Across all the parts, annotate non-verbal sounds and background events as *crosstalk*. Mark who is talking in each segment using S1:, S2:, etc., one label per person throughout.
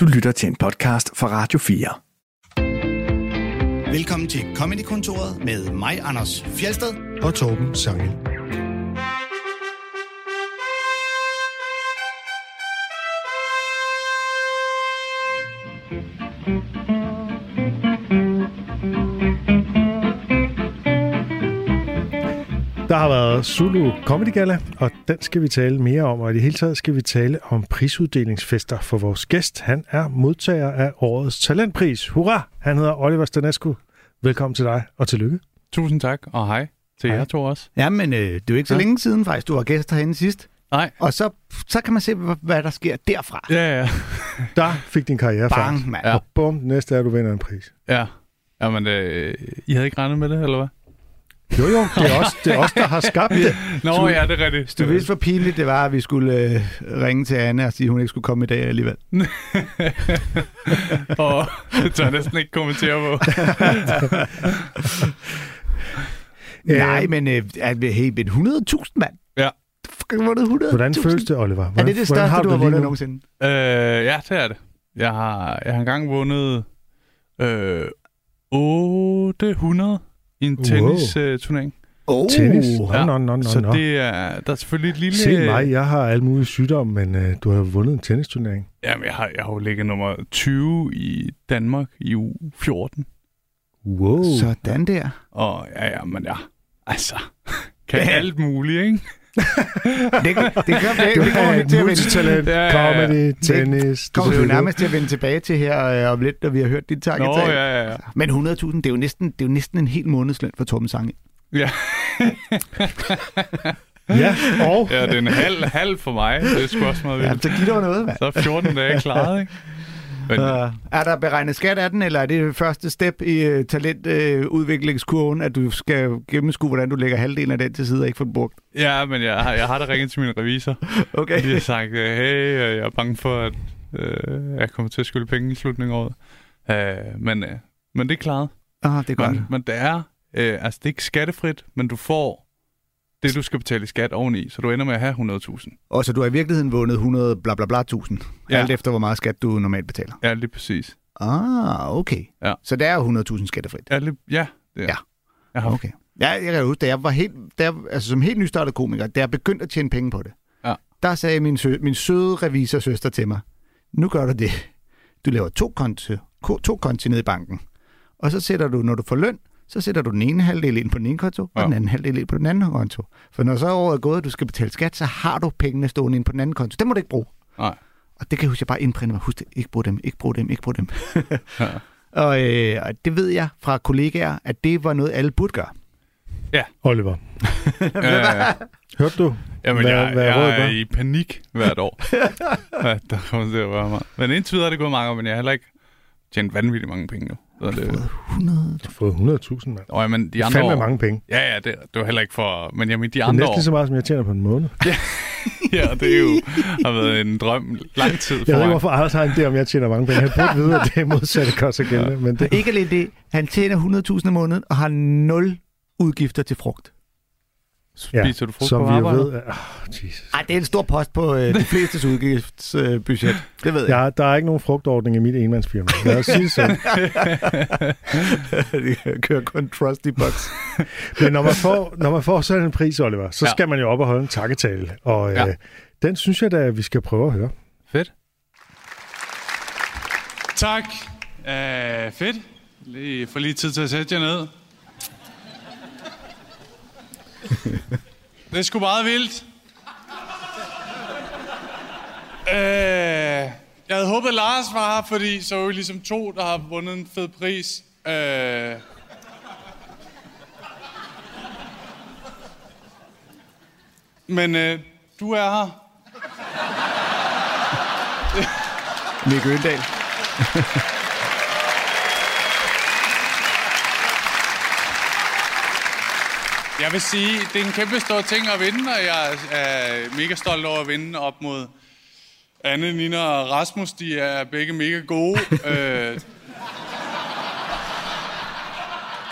S1: Du lytter til en podcast fra Radio 4.
S2: Velkommen til Comedy-kontoret med mig, Anders Fjelsted.
S3: og Torben Sangel. Der har været Zulu Comedy Gala, og den skal vi tale mere om, og i det hele taget skal vi tale om prisuddelingsfester for vores gæst. Han er modtager af årets talentpris. Hurra! Han hedder Oliver Stanescu. Velkommen til dig, og tillykke.
S4: Tusind tak, og hej til
S3: Hej.
S4: jer to også.
S2: Ja, men øh, det er jo ikke så
S4: Ja.
S2: længe siden faktisk, du var gæst herinde sidst.
S4: Nej.
S2: Og så, så kan man se, hva- hvad der sker derfra.
S4: Ja, *laughs* ja.
S3: Der fik din karriere fart.
S2: Bang, mand. Ja.
S4: Ja.
S3: Bum, næste er, du vinder en pris.
S4: ja. Jamen, øh, I havde ikke regnet med det, eller hvad?
S3: Jo, jo, det er os, det er os der har skabt det.
S4: Nå,
S2: Du-
S4: ja, det er rigtigt.
S2: Du
S3: *laughs*
S2: vidste, hvor pinligt det var, at vi skulle øh, ringe til Anne og sige, at hun ikke skulle komme i dag alligevel.
S4: og det tør jeg næsten ikke kommentere
S3: *laughs*
S4: på.
S3: Øh,
S2: *laughs* Nej, men øh, at vi- hey, men 100.000, mand.
S4: Ja.
S2: Du har fucking vundet 100.000.
S3: Hvordan føles det, Oliver? Hvordan,
S2: Er det det
S3: hvordan
S2: største, du har
S3: det lige
S2: vundet
S3: nu?
S2: nogensinde?
S4: øh, ja, det er det. Jeg har, jeg har engang vundet øh, 800 i en
S3: Wow.
S4: tennisturnering.
S2: Oh.
S3: Tennis?
S4: Ja.
S3: Nå, nå, nå,
S4: Wow. Så
S3: nå, nå.
S4: det er, der er selvfølgelig et lille...
S3: Se mig, jeg har alle mulige sygdomme, men øh, du har jo vundet en tennisturnering.
S4: Jamen, jeg har, jeg har jo ligget nummer 20 i Danmark i u 14.
S3: Wow. Så.
S2: Sådan der.
S4: Og ja, ja, men ja, altså, *laughs* kan
S2: Ja.
S4: alt muligt, ikke?
S2: Det, det gør det.
S3: Du
S2: Det kommer
S3: er
S2: vi
S3: et
S2: til at vende.
S3: multitalent,
S4: Ja, ja, ja.
S3: comedy, tennis.
S2: Det kommer vi jo
S3: selvfølgelig.
S2: nærmest til at vende tilbage til her øh, om lidt, når vi har hørt dit
S4: Nå,
S2: takketale.
S4: ja, ja, ja.
S2: Men 100.000, det er jo næsten, det er jo næsten en hel månedsløn for Torben Sange.
S4: Ja.
S3: Ja, og
S4: ja, det er en halv, halv for mig. Det er sgu også meget
S2: Ja,
S4: vildt.
S2: så giv dig noget, mand.
S4: Så er 14
S2: *laughs*
S4: dage klaret, ikke? Men,
S2: Uh, er der beregnet skat af den, eller er det første step i uh, talentudviklingskurven, uh, at du skal gennemskue, hvordan du lægger halvdelen af den til side og ikke får den brugt?
S4: ja, men jeg, har- jeg har da ringet til min revisor.
S2: Okay.
S4: De har sagt, øh, hey, øh, jeg er bange for, at øh, jeg kommer til at skylde penge i slutningen af året. Øh, men, øh, men det er klaret.
S2: Ah, det er godt.
S4: Men, men det er, øh, altså det er ikke skattefrit, men du får det, du skal betale i skat oveni, så du ender med at have 100.000.
S2: Og så du har i virkeligheden vundet 100 bla bla bla tusind, ja.
S4: Ja.
S2: alt efter hvor meget skat du normalt betaler.
S4: Ja, lige præcis.
S2: Ah, okay.
S4: Ja.
S2: Så det er jo 100.000 skattefrit.
S4: Ja, lige, ja, det er.
S2: Ja.
S4: Jeg har,
S2: Okay. Ja, jeg kan huske, da jeg var helt, da jeg, altså som helt nystartet komiker, da jeg begyndte at tjene penge på det,
S4: Ja.
S2: der sagde min, sø, min søde revisorsøster til mig, nu gør du det. Du laver to konti, ko- to konti ned i banken, og så sætter du, når du får løn, så sætter du den ene halvdel ind på den ene konto, ja. og
S4: Ja.
S2: den anden halvdel ind på den anden konto. For når så året er gået, og du skal betale skat, så har du pengene stående ind på den anden konto. Det må du ikke bruge.
S3: *laughs*
S4: Nej.
S2: Og det kan jeg huske, jeg bare indprinte mig. Husk det, ikke brug dem, ikke brug dem, ikke brug dem.
S4: *laughs* Ja.
S2: *laughs* og, øh, og det ved jeg fra kollegaer, at det var noget, alle burde gøre.
S3: Oliver.
S4: Ja, ja, ja.
S3: Hørte du?
S4: Jamen,
S3: Hvad-
S4: hvad, jeg,
S3: hvad
S4: hvad
S3: er rådet
S4: jeg er
S3: gør?
S4: i panik hvert
S3: *laughs*
S4: år. ja, der kommer til at være meget. Men indtil videre er det gået mange år, men jeg har heller ikke tjent vanvittigt mange penge nu. Så det,
S2: 100.
S3: Du har fået 100.000, mand.
S4: og, men de andre
S3: Fandme
S4: år,
S3: mange penge.
S4: Ja, ja, det, det var heller ikke for... Men jeg mener, de
S3: Det er
S4: andre
S3: næsten
S4: år,
S3: lige så meget, som jeg tjener på en måned.
S4: *laughs* ja, det er jo, har været en drøm lang tid
S3: Jeg
S4: for
S3: ved ikke,
S4: mig.
S3: hvorfor Anders har en idé om, jeg tjener mange penge. Han burde vide, at det er modsatte koster gældende, men det
S2: Ikke alene det, han tjener 100.000 om måneden og har nul udgifter til frugt.
S4: Spiser du frugt
S3: som
S4: på
S3: vi jo
S4: arbejde?
S3: ved, oh, Jesus.
S2: Ej, det er en stor post på øh, de flestes udgiftsbudget. Øh, budget. det ved jeg.
S3: Ja, der er ikke nogen frugtordning i mit enmandsfirma. Lad os sige sådan.
S2: *laughs* Det kører kun trusty box.
S3: Men når man får, når man får sådan en pris, Oliver, så ja.
S4: Ja.
S3: skal man jo op og holde en takketale. Og ja.
S4: Ja.
S3: øh, den synes jeg da, at vi skal prøve at høre.
S4: Fedt. Tak. Uh, fedt. Lige, for lige tid til at sætte jer ned. Det er sgu meget vildt. Uh, jeg havde håbet, at Lars var her, fordi så er vi ligesom to, der har vundet en fed pris. Uh, men øh, du er her.
S2: Mikke Øndal.
S4: Jeg vil sige, det er en kæmpe stor ting at vinde, og jeg er mega stolt over at vinde op mod Anne, Nina og Rasmus. De er begge mega gode. øh,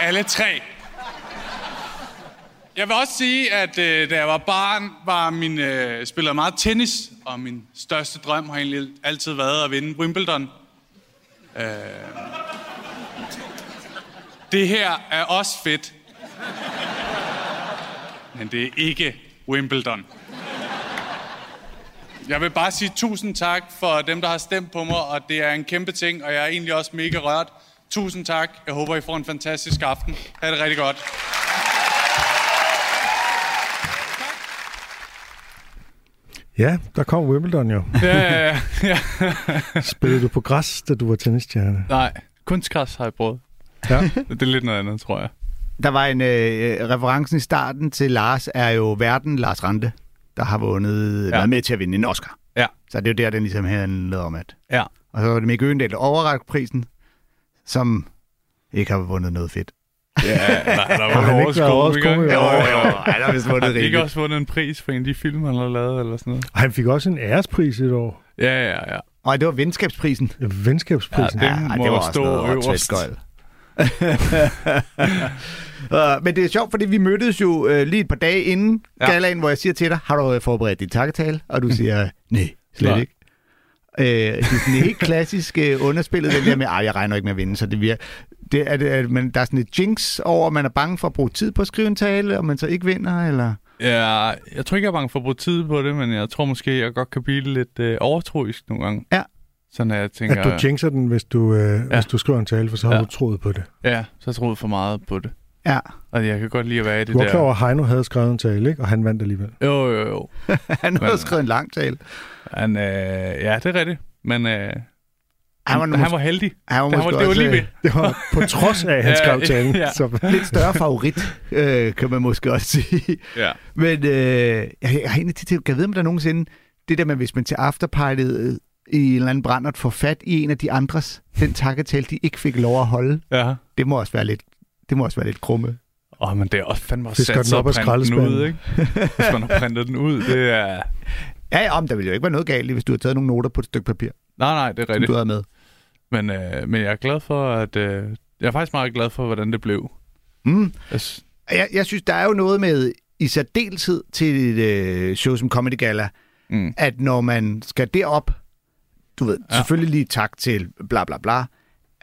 S4: alle tre. Jeg vil også sige, at øh, da jeg var barn, var min, øh, spillede jeg meget tennis, og min største drøm har egentlig altid været at vinde Wimbledon. Øh, det her er også fedt. Men det er ikke Wimbledon. Jeg vil bare sige tusind tak for dem, der har stemt på mig, og det er en kæmpe ting, og jeg er egentlig også mega rørt. Tusind tak. Jeg håber, I får en fantastisk aften. Ha' det rigtig godt.
S3: Ja, der kom Wimbledon jo.
S4: Ja, ja, ja. ja.
S3: Spillede du på græs, da du var tennisstjerne?
S4: Nej, kunstgræs har jeg prøvet.
S3: Ja.
S4: *laughs* Det er lidt noget andet, tror jeg.
S2: Der var en øh, referencen i starten til Lars, er jo verden Lars Rante, der har vundet, ja. været med til at vinde en Oscar.
S4: Ja.
S2: Så det er jo der, den ligesom handlede om, at...
S4: Ja.
S2: Og så var det Mikke Øgendal, der overrakte prisen, som ikke har vundet noget fedt.
S4: Ja, der, der
S3: Har han ikke været årets
S4: Jo, jo, jo.
S2: Ej, der har vist
S4: Har
S2: vundet
S4: de ikke
S2: rigtigt.
S4: også vundet en pris for en af de film, han har lavet, eller sådan noget?
S3: Og han fik også en ærespris et år.
S4: Ja, ja, ja.
S2: Og det var venskabsprisen.
S3: Ja, Venskabsprisen.
S4: Ja,
S3: Ja,
S4: Den
S2: ej,
S4: må
S2: det var
S4: stå
S2: noget
S4: øverst.
S2: åndssvagt skøjl. Øh, *laughs* Men det er sjovt, fordi vi mødtes jo øh, lige et par dage inden ja.
S4: Ja.
S2: galaen, hvor jeg siger til dig, har du øh, forberedt dit takketale?
S4: *laughs*
S2: Og du siger, nej, slet
S4: Nej.
S2: ikke. Øh, det er sådan en helt klassisk
S4: *laughs*
S2: øh, underspillet, den der med, at jeg regner ikke med at vinde, så det virker. Det er, det, er, man, der er sådan et jinx over, at man er bange for at bruge tid på at skrive en tale, og man så ikke vinder, eller...
S4: Ja, jeg tror ikke, jeg er bange for at bruge tid på det, men jeg tror måske, jeg godt kan blive lidt øh, overtroisk nogle gange.
S2: Ja.
S4: Sådan at jeg tænker,
S3: at du jinxer den, hvis du, øh, ja. hvis du skriver en tale, for så har ja.
S4: Ja.
S3: du troet på det.
S4: ja, så har jeg troet for meget på det.
S2: Ja,
S4: Og jeg kan godt lide at være i det
S3: Du var
S4: der.
S3: klar over, at Heino havde skrevet en tale, ikke? og han vandt alligevel.
S4: Jo, jo, jo.
S2: *laughs* han havde
S4: Men-
S2: skrevet en lang tale.
S4: Han, øh, ja, det er rigtigt. Men øh, han,
S2: Han var,
S4: han,
S2: måske,
S4: var heldig.
S2: han var,
S4: Han var,
S2: måske
S4: det var
S2: også,
S4: lige
S2: øh,
S4: ved.
S3: Det var på trods af, at han
S4: *laughs* Ja,
S3: skrev talen.
S4: ja.
S3: Så,
S2: lidt større
S4: *laughs*
S2: favorit, øh, kan man måske også sige.
S4: Ja.
S2: Men øh, jeg, jeg har egentlig tit tænkt, kan jeg vide, om der nogensinde, det der med, hvis man til afterpartiet i en eller anden brændert får fat i en af de andres, den takketale, de ikke fik lov at holde,
S4: ja.
S2: det må også være lidt, det må også være lidt krumme.
S4: Åh, men det er også fandme også
S3: Fisker
S4: sat
S3: den
S4: sig
S3: op
S4: at
S3: af
S4: printe den ud,
S3: skraldespanden.
S4: ikke? Hvis man har printet den ud, det er...
S2: *laughs* Ja, ja, men der ville jo ikke være noget galt, i, hvis du havde taget nogle noter på et stykke papir,
S4: Nej, nej, det er
S2: som
S4: rigtigt.
S2: du havde med.
S4: Men, øh, men jeg er glad for, at... Øh, jeg er faktisk meget glad for, hvordan det blev. Altså,
S2: Mm.
S4: Jeg s-
S2: Jeg, jeg synes, der er jo noget med, i særdeleshed til et øh, show som Comedy Gala,
S4: Mm.
S2: at når man skal derop, du ved, ja.
S4: Ja.
S2: selvfølgelig lige tak til bla bla bla, jeg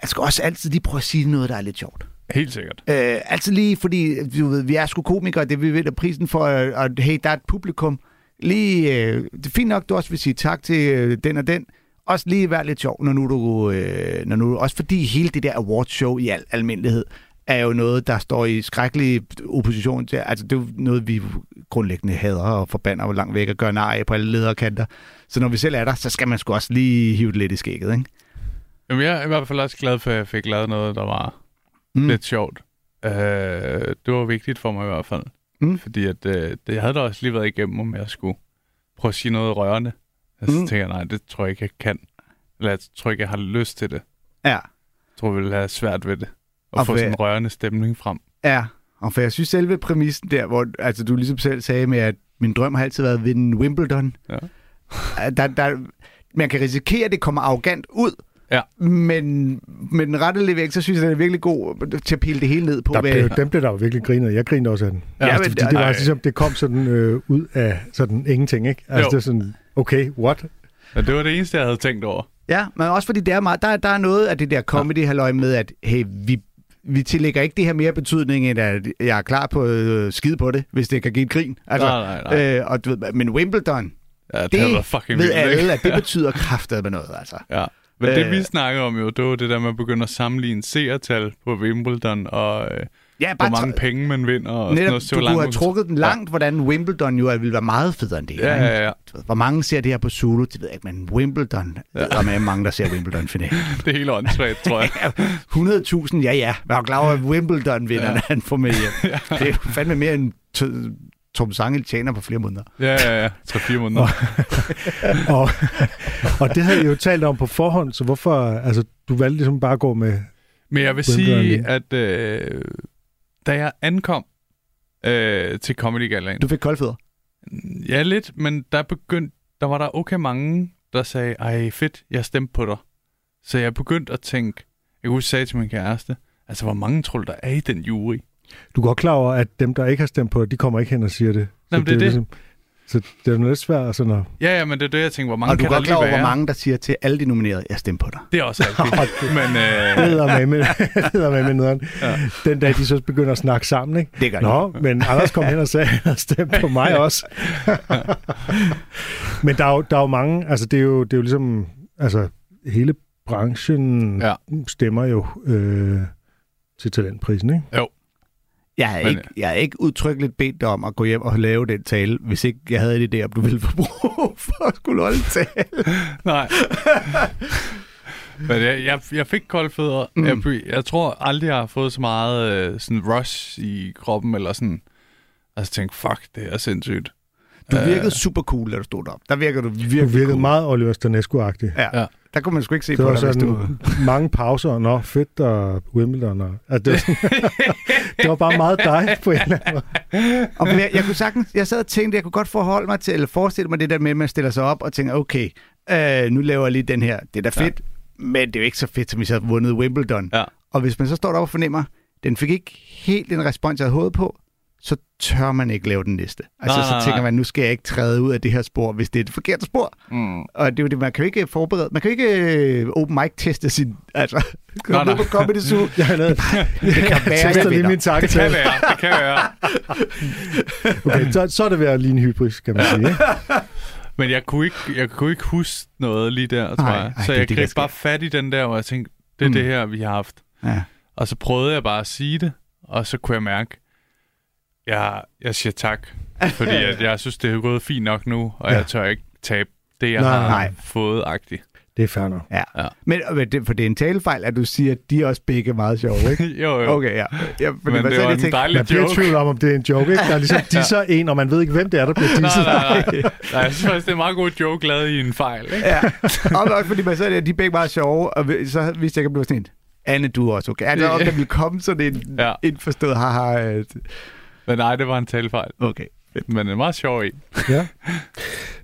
S2: skal også altid lige prøve at sige noget, der er lidt sjovt.
S4: Helt sikkert.
S2: Øh, altså lige fordi, du ved, vi er sgu komikere, det vi vinder prisen for, øh, og hey, der er et publikum. Lige, øh, det er fint nok, du også vil sige tak til øh, den og den. Også lige være lidt sjov, når nu du, øh, når nu, også fordi hele det der awardshow i al almindelighed, er jo noget, der står i skrækkelig opposition til. Altså, det er jo noget, vi grundlæggende hader og forbander jo langt væk og gør nej af på alle ledere kanter. Så når vi selv er der, så skal man sgu også lige hive det lidt i skægget, ikke?
S4: Jamen, jeg er i hvert fald også glad for, at jeg fik lavet noget, der var
S2: Mm.
S4: mm. lidt sjovt. Øh, det var vigtigt for mig i hvert fald.
S2: Mm.
S4: Fordi at, øh, det jeg havde da også lige været igennem, om jeg skulle prøve at sige noget rørende. Og så
S2: Mm.
S4: mm. tænker jeg, nej, det tror jeg ikke, jeg kan. Eller jeg tror ikke, jeg har lyst til det.
S2: Ja.
S4: Jeg tror, jeg ville have svært ved det. At
S2: Og
S4: og få
S2: hvad-
S4: sådan en rørende stemning frem.
S2: Ja, og for jeg synes selve præmissen der, hvor altså, du ligesom selv sagde med, at min drøm har altid været at vinde Wimbledon.
S4: Ja.
S2: At Der, der, man kan risikere, at det kommer arrogant ud,
S4: Ja.
S2: men med den rette levering, så synes jeg, den er virkelig god til at pille det hele ned på.
S3: der
S2: hvad-
S3: blev, dem blev der jo virkelig grinet. Jeg grinede også af den.
S2: Ja,
S3: Ja, altså,
S2: men-
S3: fordi det var
S4: nej.
S3: ligesom, det kom sådan øh, ud af sådan ingenting. Ikke? Altså,
S4: Jo.
S3: det er sådan, okay, what?
S4: Og det var det eneste, jeg havde tænkt over.
S2: Ja, men også fordi det er meget, der, der er noget af det der comedy halløj med, at hey, vi, vi tillægger ikke det her mere betydning, end at jeg er klar på øh, skide på det, hvis det kan give et grin. Altså,
S4: Nej, nej, nej.
S2: Øh, og du ved, men Wimbledon,
S4: Ja, det,
S2: det
S4: det havde været fucking
S2: ved
S4: vildt, ikke?
S2: alle, at det betyder kraftet med noget, altså.
S4: Ja. Men det,
S2: Øh.
S4: vi snakkede om jo, det var det der med at begynde at sammenligne seertal på Wimbledon, og øh,
S2: Ja,
S4: hvor
S2: bare
S4: mange
S2: tra-
S4: penge man vinder, og sådan
S2: Netop,
S4: noget. så
S2: du
S4: hvor
S2: kunne have
S4: man-
S2: trukket den langt, hvordan Wimbledon jo er- ville være meget federe end det her.
S4: Ja,
S2: ikke?
S4: ja, ja.
S2: Du ved, Hvor mange ser det her på Zulu? Det ved jeg ikke, men Wimbledon, ja. der er mange, der ser Wimbledon-finalen.
S4: Det er helt åndssvagt, tror
S2: *laughs*
S4: jeg.
S2: 100.000, ja ja, vær klar over, at Wimbledon-vinderen ja. han får med
S4: *laughs*
S2: hjem. Det er jo fandme mere end t- Tom Sangel tjener på flere måneder.
S4: Ja, ja, ja. 3-4 måneder.
S3: Og, *laughs* og det havde I jo talt om på forhånd, så hvorfor... Altså, du valgte ligesom bare at gå med...
S4: Men jeg vil
S3: Hvordan gør han
S4: sige, at øh, da jeg ankom øh, til Comedy Galaen,
S2: Du fik koldfødder.
S4: ja lidt, men der begyndte, der var der okay mange, der sagde, ej fedt, jeg stemte på dig. Så jeg begyndte at tænke, jeg kunne huske, jeg sagde til min kæreste, altså hvor mange tror du, der er i den jury?
S3: Du er godt klar over, at dem, der ikke har stemt på det, de kommer ikke hen og siger det.
S4: Jamen, det er
S3: jo ligesom-
S4: det.
S3: så det er jo lidt svært sådan at...
S4: Ja, ja, men det er det, jeg tænker, hvor mange
S2: Og du er
S4: kan der
S2: godt
S4: lige
S2: klar over,
S4: være?
S2: hvor mange, der siger til alle de nominerede, jeg stemmer på dig.
S4: Det er
S2: *laughs*
S4: også rigtigt. men øh,
S3: Eddermame,
S4: *laughs*
S3: eddermame nederen. Ja. Den dag, de så begynder at snakke sammen, ikke?
S2: Det gør de.
S3: Nå, men Anders kom hen og sagde, at han havde stemt på mig også. men der er, jo, der er jo mange, altså det er jo, det er jo ligesom, altså hele branchen
S4: Ja.
S3: ja. stemmer jo øh, til talentprisen, ikke?
S2: Jeg er,
S4: Men,
S2: ikke, jeg er ikke udtrykkeligt bedt dig om at gå hjem og lave den tale, hvis ikke jeg havde en idé om, du ville få brug for at skulle holde en tale.
S4: nej. *laughs* men jeg, jeg, jeg fik kolde fødder. Mm. Jeg, blev- jeg tror aldrig, jeg har fået så meget øh, sådan rush i kroppen, eller sådan... Altså tænkte, fuck, det er sindssygt. Øh,
S2: Du virkede super cool, da du stod op. Der virkede du virkelig
S3: Du virkede
S2: cool.
S3: meget Oliver Stanescu-agtig.
S2: Ja.
S4: Ja.
S2: ja. Der kunne man sgu ikke se
S3: Det
S2: på
S3: var
S2: dig, hvis
S3: sådan
S2: du...
S3: mange pauser, nå, fedt og Wimbledon. Og, altså, det, var sådan,
S4: *laughs*
S3: det var bare meget dig på en eller anden måde.
S2: *laughs* Og jeg, jeg, kunne sagtens, jeg sad og tænkte, jeg kunne godt forholde mig til, eller forestille mig det der med, at man stiller sig op og tænker, okay, øh, nu laver jeg lige den her. Det er da fedt, ja. men det er jo ikke så fedt, som hvis jeg havde vundet Wimbledon.
S4: Ja.
S2: Og hvis man så står deroppe og fornemmer, den fik ikke helt den respons, jeg havde håbet på, så tør man ikke lave den næste. Altså,
S4: Nej,
S2: så
S4: nej,
S2: tænker
S4: nej.
S2: man, nu skal jeg ikke træde ud af det her spor, hvis det er det forkerte spor.
S4: Mm.
S2: Og det er jo det, man kan jo ikke forberede, man kan jo ikke øh, open mic teste sin, altså,
S4: Nej,
S2: komme ned
S4: nej.
S2: på *laughs* Comedy Zoo.
S3: *laughs*
S2: Det
S3: Jeg har lavet,
S2: kan være,
S3: tester
S2: jeg
S3: lige
S2: vinder.
S3: min tanke til.
S4: Kan være, det kan være.
S3: Okay, så, så er det ved at ligne hybris, kan man sige. Ikke?
S4: Men jeg kunne ikke, jeg kunne ikke huske noget lige der, tror
S2: Nej,
S4: jeg.
S2: nej,
S4: Så
S2: det er
S4: jeg
S2: det, der
S4: greb
S2: sker.
S4: bare fat i den der, og jeg tænkte, det er
S2: Mm.
S4: det her, vi har haft.
S2: Ja.
S4: Og så prøvede jeg bare at sige det, og så kunne jeg mærke, jeg, jeg siger
S2: *laughs*
S4: tak, fordi jeg, jeg synes, det er gået fint nok nu, og
S3: Ja.
S4: ja. jeg tør ikke tabe det, jeg
S3: Nej,
S4: har
S2: nej.
S4: fået-agtigt.
S3: Det er fair nok.
S2: Ja.
S4: Ja.
S2: Men øh, men det- for det er en talefejl, at du siger, at de er også begge meget sjove, ikke?
S4: *laughs* *laughs* jo, jo.
S2: Okay, ja. ja fordi
S4: Men
S2: man
S4: det var
S2: selv
S4: en
S2: lige tænker,
S4: dejlig
S3: Man bliver i
S4: joke.
S3: tvivl om, om det er en joke, ikke? Der er ligesom disser en, og man ved ikke, hvem det er, der bliver
S4: *laughs* Nej,
S3: disset.
S4: nej,
S2: *laughs*
S4: nej. nej, jeg synes faktisk, det er en meget god joke lavet i en fejl. Ikke?
S2: Ja, og også fordi man selv er, de er begge meget sjove, og vi- så vidste jeg ikke, om det var sådan en, Anne, du er også okay. Anne, om der ville komme sådan en ja.
S4: Ja.
S2: indforstået haha. øh,
S4: Men nej, det var en talefejl.
S2: Okay.
S4: Men en meget sjov en.
S3: Ja.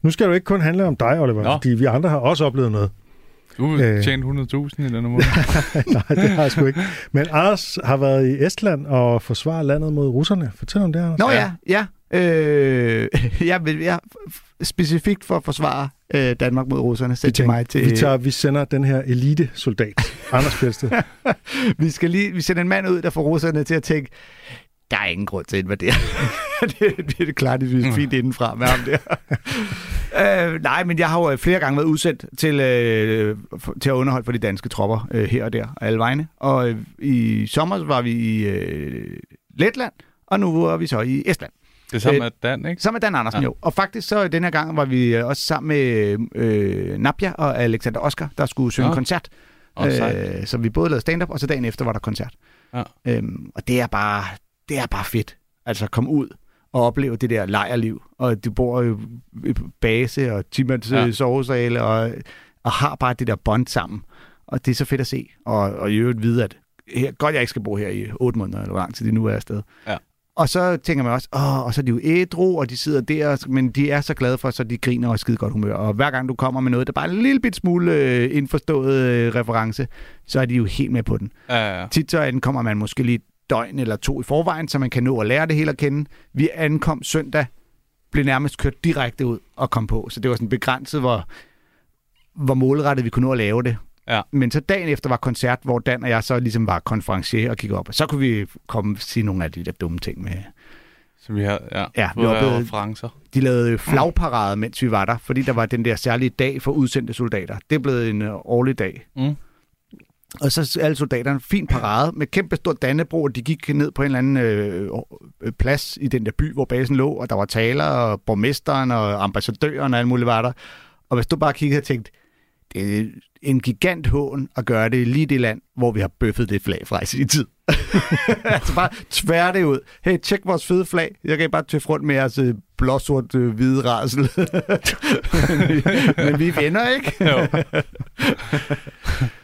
S3: Nu skal det jo ikke kun handle om dig, Oliver,
S4: Nå.
S3: fordi vi andre har også oplevet noget. *laughs*
S4: Du
S3: Øh.
S4: tjente 100.000 i denne
S2: *laughs*
S4: måned.
S3: nej, det har jeg sgu ikke. Men Anders har været i Estland og forsvarer landet mod russerne. Fortæl om det, Anders.
S2: Nå ja, ja. Øh, *laughs* jeg vil jeg, specifikt for at forsvare øh, Danmark mod russerne.
S3: Vi,
S2: Sæt til mig til,
S3: vi, tager, vi sender den her elite-soldat, Anders Fjelsted.
S2: vi, skal lige, vi sender en mand ud, der får russerne til at tænke, der er ingen grund til at invadere. *laughs* det, det er det klart, det synes fint indenfra med ham der. *laughs* øh, nej, men jeg har jo øh, flere gange været udsendt til, øh, f- til at underholde for de danske tropper øh, her og der og alle vegne. Og øh, i sommer var vi i øh, Letland, og nu er vi så i Estland.
S4: Det er sammen
S2: Øh.
S4: med Dan, ikke?
S2: Sammen med Dan Andersen, ja.
S4: Ja.
S2: jo. Og faktisk så den her gang var vi øh, også sammen med øh, Napja og Alexander Oscar, der skulle synge ja.
S4: Nå.
S2: koncert.
S4: Åh, sejt.
S2: øh, så vi både lavede stand-up, og så dagen efter var der koncert.
S4: Ja.
S2: Øhm, og det er, bare, det er bare fedt. Altså komme ud og opleve det der lejerliv. Og du bor jo i base og 10 mands
S4: Ja.
S2: ja. sovesale, og, og har bare det der bånd sammen. Og det er så fedt at se. Og, og i øvrigt vide, at her, godt jeg ikke skal bo her i 8 måneder, eller hvor lang tid de nu er afsted. Og så tænker man også, åh, og så er de jo ædru, og de sidder der, og- men de er så glade for, så de griner og er i skide godt humør. Og hver gang du kommer med noget, der bare er en lille bit smule øh, indforstået øh, reference, så er de jo helt med på den.
S4: Ja, ja.
S2: Tit så ankommer man måske lige et døgn eller to i forvejen, så man kan nå at lære det hele at kende. Vi ankom søndag, blev nærmest kørt direkte ud og kom på, så det var sådan begrænset, hvor, hvor målrettet vi kunne nå at lave det.
S4: Ja.
S2: Men så dagen efter var koncert, hvor Dan og jeg så ligesom var konferencier og kiggede op, og så kunne vi komme og sige nogle af de der dumme ting med
S4: Så vi har ja,
S2: Ja,
S4: ja
S2: vi
S4: vi
S2: oplevede- *laughs*
S4: referencer.
S2: de lavede øh, flagparade, mens vi var der, fordi der var den der særlige dag for udsendte soldater. Det er blevet en øh, årlig dag.
S4: Mm.
S2: Og så alle soldaterne, fin parade med kæmpe stor dannebro, og de gik ned på en eller anden øh, øh, plads i den der by, hvor basen lå, og der var taler, og borgmesteren, og ambassadøren, og alt muligt var der. Og hvis du bare kiggede og tænkte, det er en gigant hån at gøre det lige i det land, hvor vi har bøffet det flag fra i sin tid. *laughs* altså bare tvær det ud. Hey, tjek vores fede flag. Jeg kan bare tøffe rundt med jeres øh, blåsort øh, hvide rasel. *laughs* men, vi, men vi vinder ikke.
S4: Jo.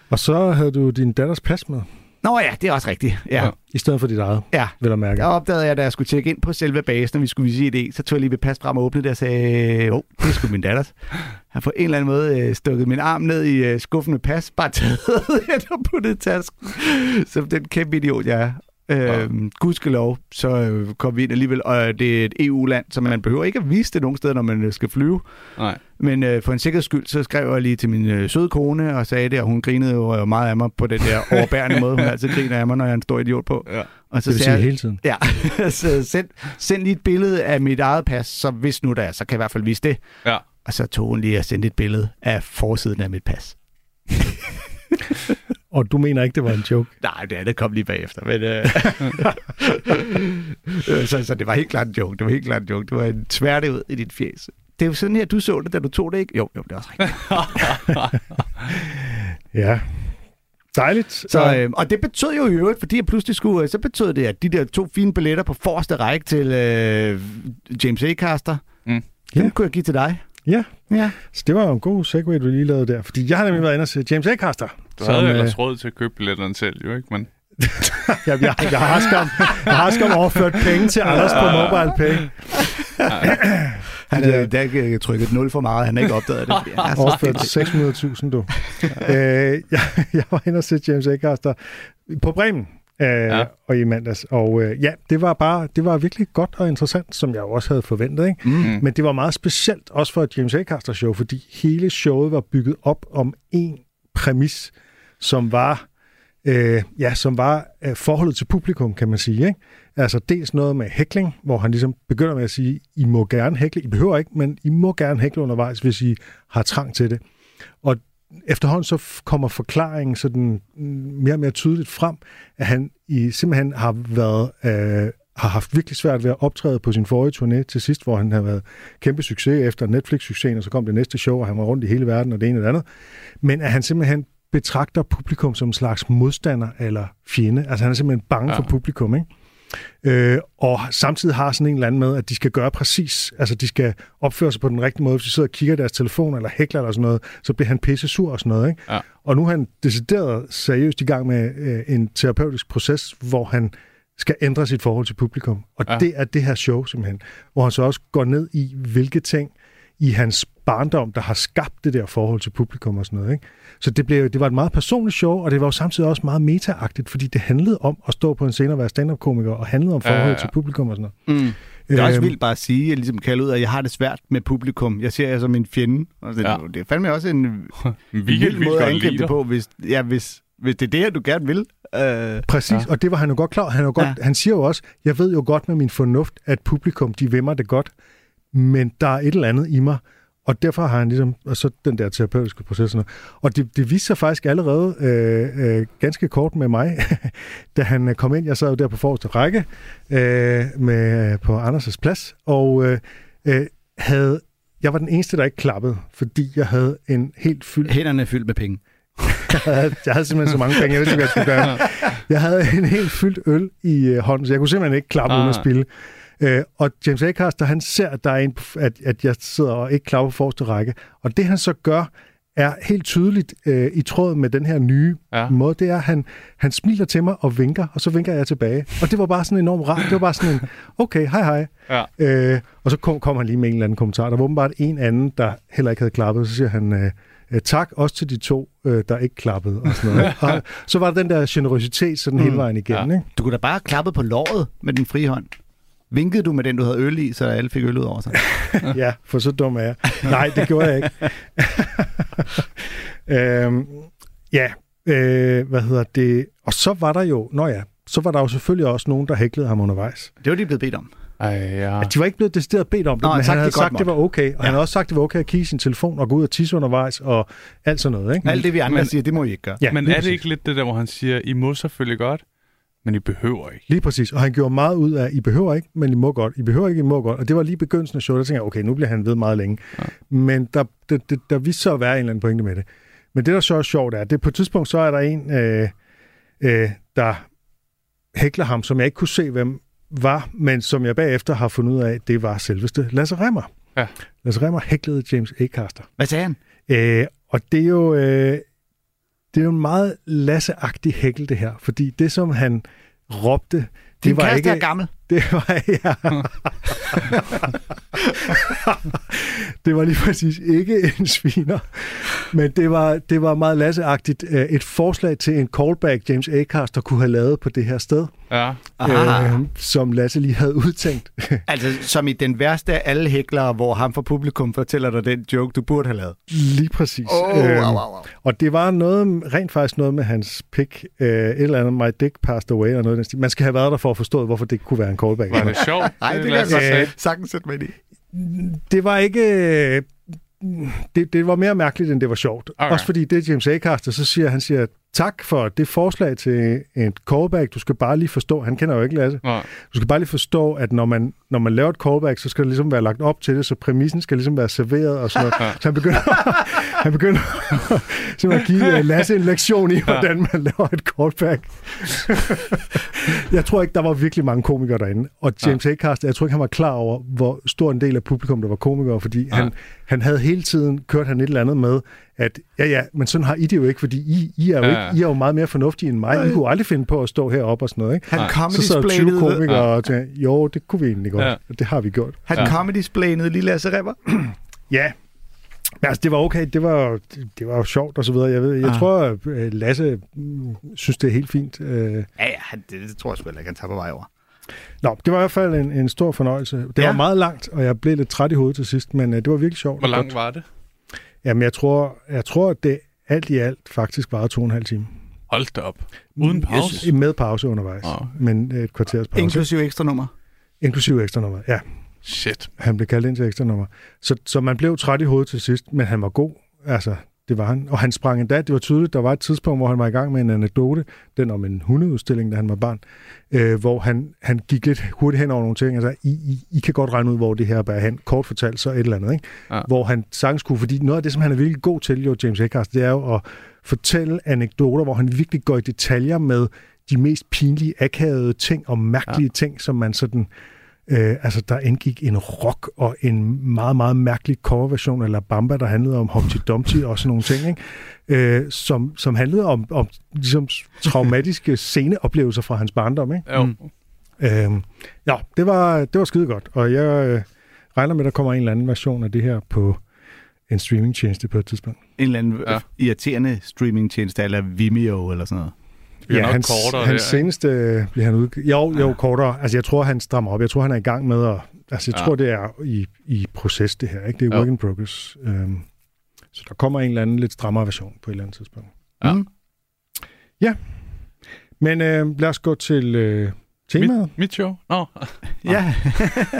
S3: Og så havde du din datters pas med,
S2: Nå ja, det er også rigtigt. Ja.
S4: Ja.
S3: i stedet for dit eget,
S2: ja.
S3: vil jeg mærke.
S2: Der opdagede jeg, da jeg skulle tjekke ind på selve basen, og vi skulle vise ID, så tog jeg lige ved pas frem og åbnede det og sagde, åh, oh, det skulle min datters. Jeg har på en eller anden måde øh, stukket min arm ned i *laughs* øh, skuffen med pas, bare taget det og puttet i tasken, som den kæmpe idiot, jeg er. Ja. Øh, gudskelov, så øh, kom vi ind alligevel, og det er et EU-land, så man behøver ikke at vise det nogen steder, når man øh, skal flyve.
S4: Nej.
S2: Men øh, for en sikkerheds skyld, så skrev jeg lige til min øh, søde kone og sagde det, og hun grinede jo øh, meget af mig på den der
S3: *laughs*
S2: overbærende måde, hun altid griner af mig, når jeg er en stor idiot på.
S4: Ja.
S2: Og så
S3: Det vil
S2: sagde
S3: sige
S2: jeg,
S3: hele tiden.
S2: Ja, *laughs* så send, send lige et billede af mit eget pas, så hvis nu der er, så kan jeg i hvert fald vise det.
S4: Ja.
S2: Og så tog hun lige og sendte et billede af forsiden af mit pas.
S3: Og du mener ikke, det var en joke?
S2: Nej, det andet kom lige bagefter, men... Øh... øh, *laughs* så, så det var helt klart en joke, det var helt klart en joke. Det var en tværte ud i dit fjes. Det er jo sådan her, du så det, da du tog det, ikke? Jo, jo, det er også rigtigt.
S3: Ja. Dejligt.
S2: Så, *laughs* øh, og det betød jo i øvrigt, fordi jeg pludselig skulle, øh, så betød det, at de der to fine billetter på forreste række til øh, James A.
S4: Mm.
S2: Mm. Dem
S3: Ja.
S2: kunne jeg give til dig.
S3: ja.
S2: Ja.
S3: Så det var jo en god segue, du lige lavede der. Fordi jeg har nemlig været inde og se James Acaster.
S4: Du havde
S3: øh,
S4: jo
S2: øh,
S4: ellers råd til at købe billetterne selv, jo ikke? Men
S3: jeg, jeg, jeg, har skam, jeg har skam overført penge
S4: *laughs*
S3: til Anders på MobilePay.
S2: Han havde i dag øh, trykket 0 for meget, han har ikke opdaget *laughs* det. fordi Han er så
S3: Overført 600.000, *laughs* du. øh, jeg, jeg var inde og se James Acaster på Bremen. Øh, ja. og i mandags. Og øh, ja, det var bare, det var virkelig godt og interessant, som jeg jo også havde forventet, ikke? Mm. Men det var meget specielt, også for et James Acaster show, fordi hele showet var bygget op om en præmis, som var, øh, ja, som var øh, forholdet til publikum, kan man sige, ikke? Altså dels noget med hækling, hvor han ligesom begynder med at sige, I må gerne hækle, I behøver ikke, men I må gerne hækle undervejs, hvis I har trang til det. Og efterhånden så f- kommer forklaringen sådan mm, mere og mere tydeligt frem, at han i, simpelthen har været øh, har haft virkelig svært ved at optræde på sin forrige turné til sidst, hvor han har været kæmpe succes efter Netflix-succesen, og så kom det næste show, og han var rundt i hele verden og det ene og det andet. Men at han simpelthen betragter publikum som en slags modstander eller fjende. Altså han er simpelthen bange ja. for publikum, ikke? Øh, og samtidig har sådan en eller anden med, at de skal gøre præcis, altså de skal opføre sig på den rigtige måde. Hvis de sidder og kigger i deres telefon eller hækler eller sådan noget, så bliver han pisse sur og sådan noget. Ikke?
S4: Ja.
S3: Og nu er han decideret seriøst i gang med øh, en terapeutisk proces, hvor han skal ændre sit forhold til publikum. Og
S4: Ja.
S3: ja. det er det her show simpelthen, hvor han så også går ned i, hvilke ting i hans barndom, der har skabt det der forhold til publikum og sådan noget. Ikke? Så det, blev, det var et meget personligt show, og det var jo samtidig også meget metaagtigt, fordi det handlede om at stå på en scene og være stand-up-komiker, og handlede om
S4: Ja, ja,
S3: forholdet ja,
S4: ja.
S3: ja. til publikum og sådan noget.
S2: Mm. Det er også
S3: Øhm,
S2: vildt bare at sige, jeg ligesom kalder ud, at jeg har det svært med publikum. Jeg ser jer som en fjende. Og det,
S4: Ja.
S2: ja. det er fandme også
S4: *laughs*
S2: en
S4: vi kan
S2: vild
S4: vildt
S2: måde at
S4: godt
S2: angribe
S4: lide
S2: det
S4: dig.
S2: på, hvis, ja, hvis, hvis det er det her, du gerne vil. Øh,
S3: Præcis, ja. og det var han jo godt klar. over. Han, er jo godt, ja. han siger jo også, jeg ved jo godt med min fornuft, at publikum, de vemmer det godt, men der er et eller andet i mig, og derfor har han ligesom, og så den der terapeutiske proces. Og, sådan noget. og det, det viste sig faktisk allerede øh, øh, ganske kort med mig, *laughs* da han øh, kom ind. Jeg sad jo der på forreste række øh, med, på Anders' plads, og øh, øh, havde, jeg var den eneste, der ikke klappede, fordi jeg havde en helt fyldt
S2: Hænderne er fyldt med penge.
S3: jeg havde, *laughs* jeg havde simpelthen så mange penge, jeg vidste ikke, hvad jeg skulle gøre. Jeg havde en helt fyldt øl i øh, hånden, så jeg kunne simpelthen ikke klappe ah. uden at
S4: Ah.
S3: spille. Øh, og James Acaster, han ser, at, der er en, at, at jeg sidder og ikke klapper på forreste række. Og det han så gør, er helt tydeligt øh, i tråd med den her nye
S4: Ja.
S3: ja. måde, det er, at han, han smiler til mig og vinker, og så vinker jeg tilbage. Og det var bare sådan enormt rart. Det var bare sådan en, okay, hej hej.
S4: Ja.
S3: Øh, og så kom, kom han lige med en eller anden kommentar. Der var åbenbart en anden, der heller ikke havde klappet. Så siger han, øh, øh, tak også til de to, øh, der ikke klappede. Og sådan *laughs* noget. og så var der den der generøsitet sådan mm. hele vejen igennem. Ja. Ikke?
S2: Du kunne da bare klappe på låret med din frie hånd. Vinkede du med den, du havde øl i, så alle fik øl ud over sig?
S3: ja, for så dum er jeg. Nej, det gjorde jeg ikke. øhm, ja, øh, hvad hedder det? Og så var der jo, nå ja, så var der jo selvfølgelig også nogen, der hæklede ham undervejs.
S2: Det var de blevet bedt om.
S4: Ej, ja.
S3: Ja, de var ikke blevet decideret bedt om det,
S2: Nå,
S3: Nå,
S2: han
S3: men
S2: sagde,
S3: han havde
S2: de godt
S3: sagt, det var okay. Og ja. han havde også sagt, det var okay at kigge i sin telefon og gå ud og tisse undervejs og alt sådan noget. Ikke?
S2: Alt det, vi andre
S4: Men-
S2: men, siger, det må I ikke gøre.
S4: Men
S3: lige
S4: er det
S3: præcis.
S4: ikke lidt det der, hvor han siger, I må selvfølgelig godt, men I behøver ikke?
S3: Lige præcis, og han gjorde meget ud af, I behøver ikke, men I må godt, I behøver ikke, I må godt. Og det var lige begyndelsen af showet, der tænkte jeg, okay, nu bliver han ved meget længe. Ja. Men der, der, der, der viste sig at være en eller anden pointe med det. Men det, der så er sjovt, er, at det på et tidspunkt, så er der en, øh, øh, der hækler ham, som jeg ikke kunne se, hvem var, men som jeg bagefter har fundet ud af, det var selveste Lasse Remmer.
S4: Ja.
S3: Lasse Remmer hæklede James Acaster.
S2: Hvad sagde han?
S3: Øh, og det er jo øh, det er jo en meget lasseagtig hækkel, det her. Fordi det, som han råbte, det
S2: Din
S3: var
S2: kæreste
S3: ikke...
S2: er gammel.
S3: *laughs* Det var jeg. det var lige præcis ikke en sviner, men det var, det var meget lasseagtigt. øh, Et forslag til en callback, James Acaster kunne have lavet på det her sted,
S4: Ja.
S2: Aha.
S3: øh, som Lasse lige havde udtænkt. *laughs*
S2: Altså, som i den værste af alle hæklere, hvor ham fra publikum fortæller dig den joke, du burde have lavet.
S3: Lige præcis. Øhm,
S2: wow.
S3: Og det var noget, rent faktisk noget med hans pik, øh, et eller andet, my dick passed away, eller noget. i den stil. Man skal have været der for at forstå, hvorfor det kunne være en callback.
S4: Var det sjovt?
S2: Ej, det kan
S4: lad
S2: jeg
S4: os bare sige.
S2: godt sagtens sætte mig ind i.
S3: det var ikke... øh, Det, det var mere mærkeligt, end det var sjovt.
S4: Okay.
S3: Okay. Også fordi det er James Acaster, så siger han siger, tak for det forslag til en callback. Du skal bare lige forstå, han kender jo ikke Lasse,
S4: Nå.
S3: du skal bare lige forstå, at når man, når man laver et callback, så skal det ligesom være lagt op til det, så præmissen skal ligesom være serveret og sådan noget. Så han begynder, *laughs* han begynder simpelthen at give øh, Lasse en lektion i, hvordan man laver et callback. jeg tror ikke, der var virkelig mange komikere derinde. Og James Acaster, jeg tror ikke, han var klar over, hvor stor en del af publikum, der var komikere, fordi han, han havde hele tiden kørt han et eller andet med, at ja, ja, men sådan har I det jo ikke, fordi I, I, er, jo
S4: Ja,
S3: ikke,
S4: ja.
S3: I er jo meget mere fornuftige end mig. I kunne aldrig finde på at stå heroppe og sådan noget. Ikke?
S2: Han
S3: Så sad 20
S2: comedy
S3: komikere og tænkte, jo, det kunne vi egentlig godt.
S4: Ja.
S3: Ja. Det har vi gjort.
S2: Han comedy lille Lasse Remmer.
S3: Ja. Men altså, det var okay. Det var, det var jo sjovt og så videre. Jeg, ved, jeg
S2: Ah.
S3: tror, at øh, Lasse mm, synes, det er helt fint. Øh,
S2: Ja, ja, han- det, det tror jeg sgu heller ikke, han tager på vej over.
S3: Nå, det var i hvert fald en, en stor fornøjelse. Det
S2: Ja.
S3: var meget langt, og jeg blev lidt træt i hovedet til sidst, men øh, det var virkelig sjovt.
S4: Hvor
S3: og godt.
S4: langt var det?
S3: Jamen, jeg tror, jeg tror, at det alt i alt faktisk varede to og en halv time.
S4: Hold da op.
S2: Mm,
S4: Uden pause?
S3: Jeg- Med pause undervejs,
S4: Ah, okay.
S3: men øh, et kvarters pause.
S2: Inklusiv ekstra nummer.
S3: Inklusiv ekstra nummer, ja.
S4: Shit.
S3: Han blev kaldt ind til ekstra nummer. Så, så man blev træt i hovedet til sidst, men han var god. Altså, det var han. Og han sprang endda. Det var tydeligt, der var et tidspunkt, hvor han var i gang med en anekdote, den om en hundeudstilling, da han var barn, øh, hvor han, han gik lidt hurtigt hen over nogle ting. Altså, I, I, I kan godt regne ud, hvor det her bærer hen. Kort fortalt, så et eller andet. Ikke?
S4: Ja.
S3: Ja. Hvor han sagtens kunne, fordi noget af det, som han er virkelig god til, jo, James Acaster, det er jo at fortælle anekdoter, hvor han virkelig går i detaljer med de mest pinlige, akavede ting og mærkelige ja. ting, som man sådan Øh, altså, der indgik en rock og en meget, meget mærkelig coverversion af La Bamba, der handlede om Humpty Dumpty og sådan nogle ting, ikke? Øh, som, som handlede om, om ligesom traumatiske sceneoplevelser fra hans barndom. Ikke?
S4: Jo.
S3: Øh, ja, det var, det var skide godt, og jeg øh, regner med, at der kommer en eller anden version af det her på en streamingtjeneste på et tidspunkt.
S2: En eller anden
S4: Ja.
S2: ja. irriterende streamingtjeneste, eller Vimeo eller sådan noget.
S4: Det er nok
S3: hans,
S4: kortere,
S3: hans
S4: det her,
S3: seneste øh, bliver han ud... Jo, jo, kortere. Altså, jeg tror, han strammer op. Jeg tror, han er i gang med at... Altså, jeg
S4: Ja.
S3: ja. tror, det er i, i proces, det her. Ikke? Det er
S4: Jo.
S3: work in progress. Øhm, så der kommer en eller anden lidt strammere version på et eller andet tidspunkt.
S4: Ja.
S2: Mm.
S3: Men øh, lad os gå til øh, temaet.
S4: Mit, mit show? Nå.
S2: Ja,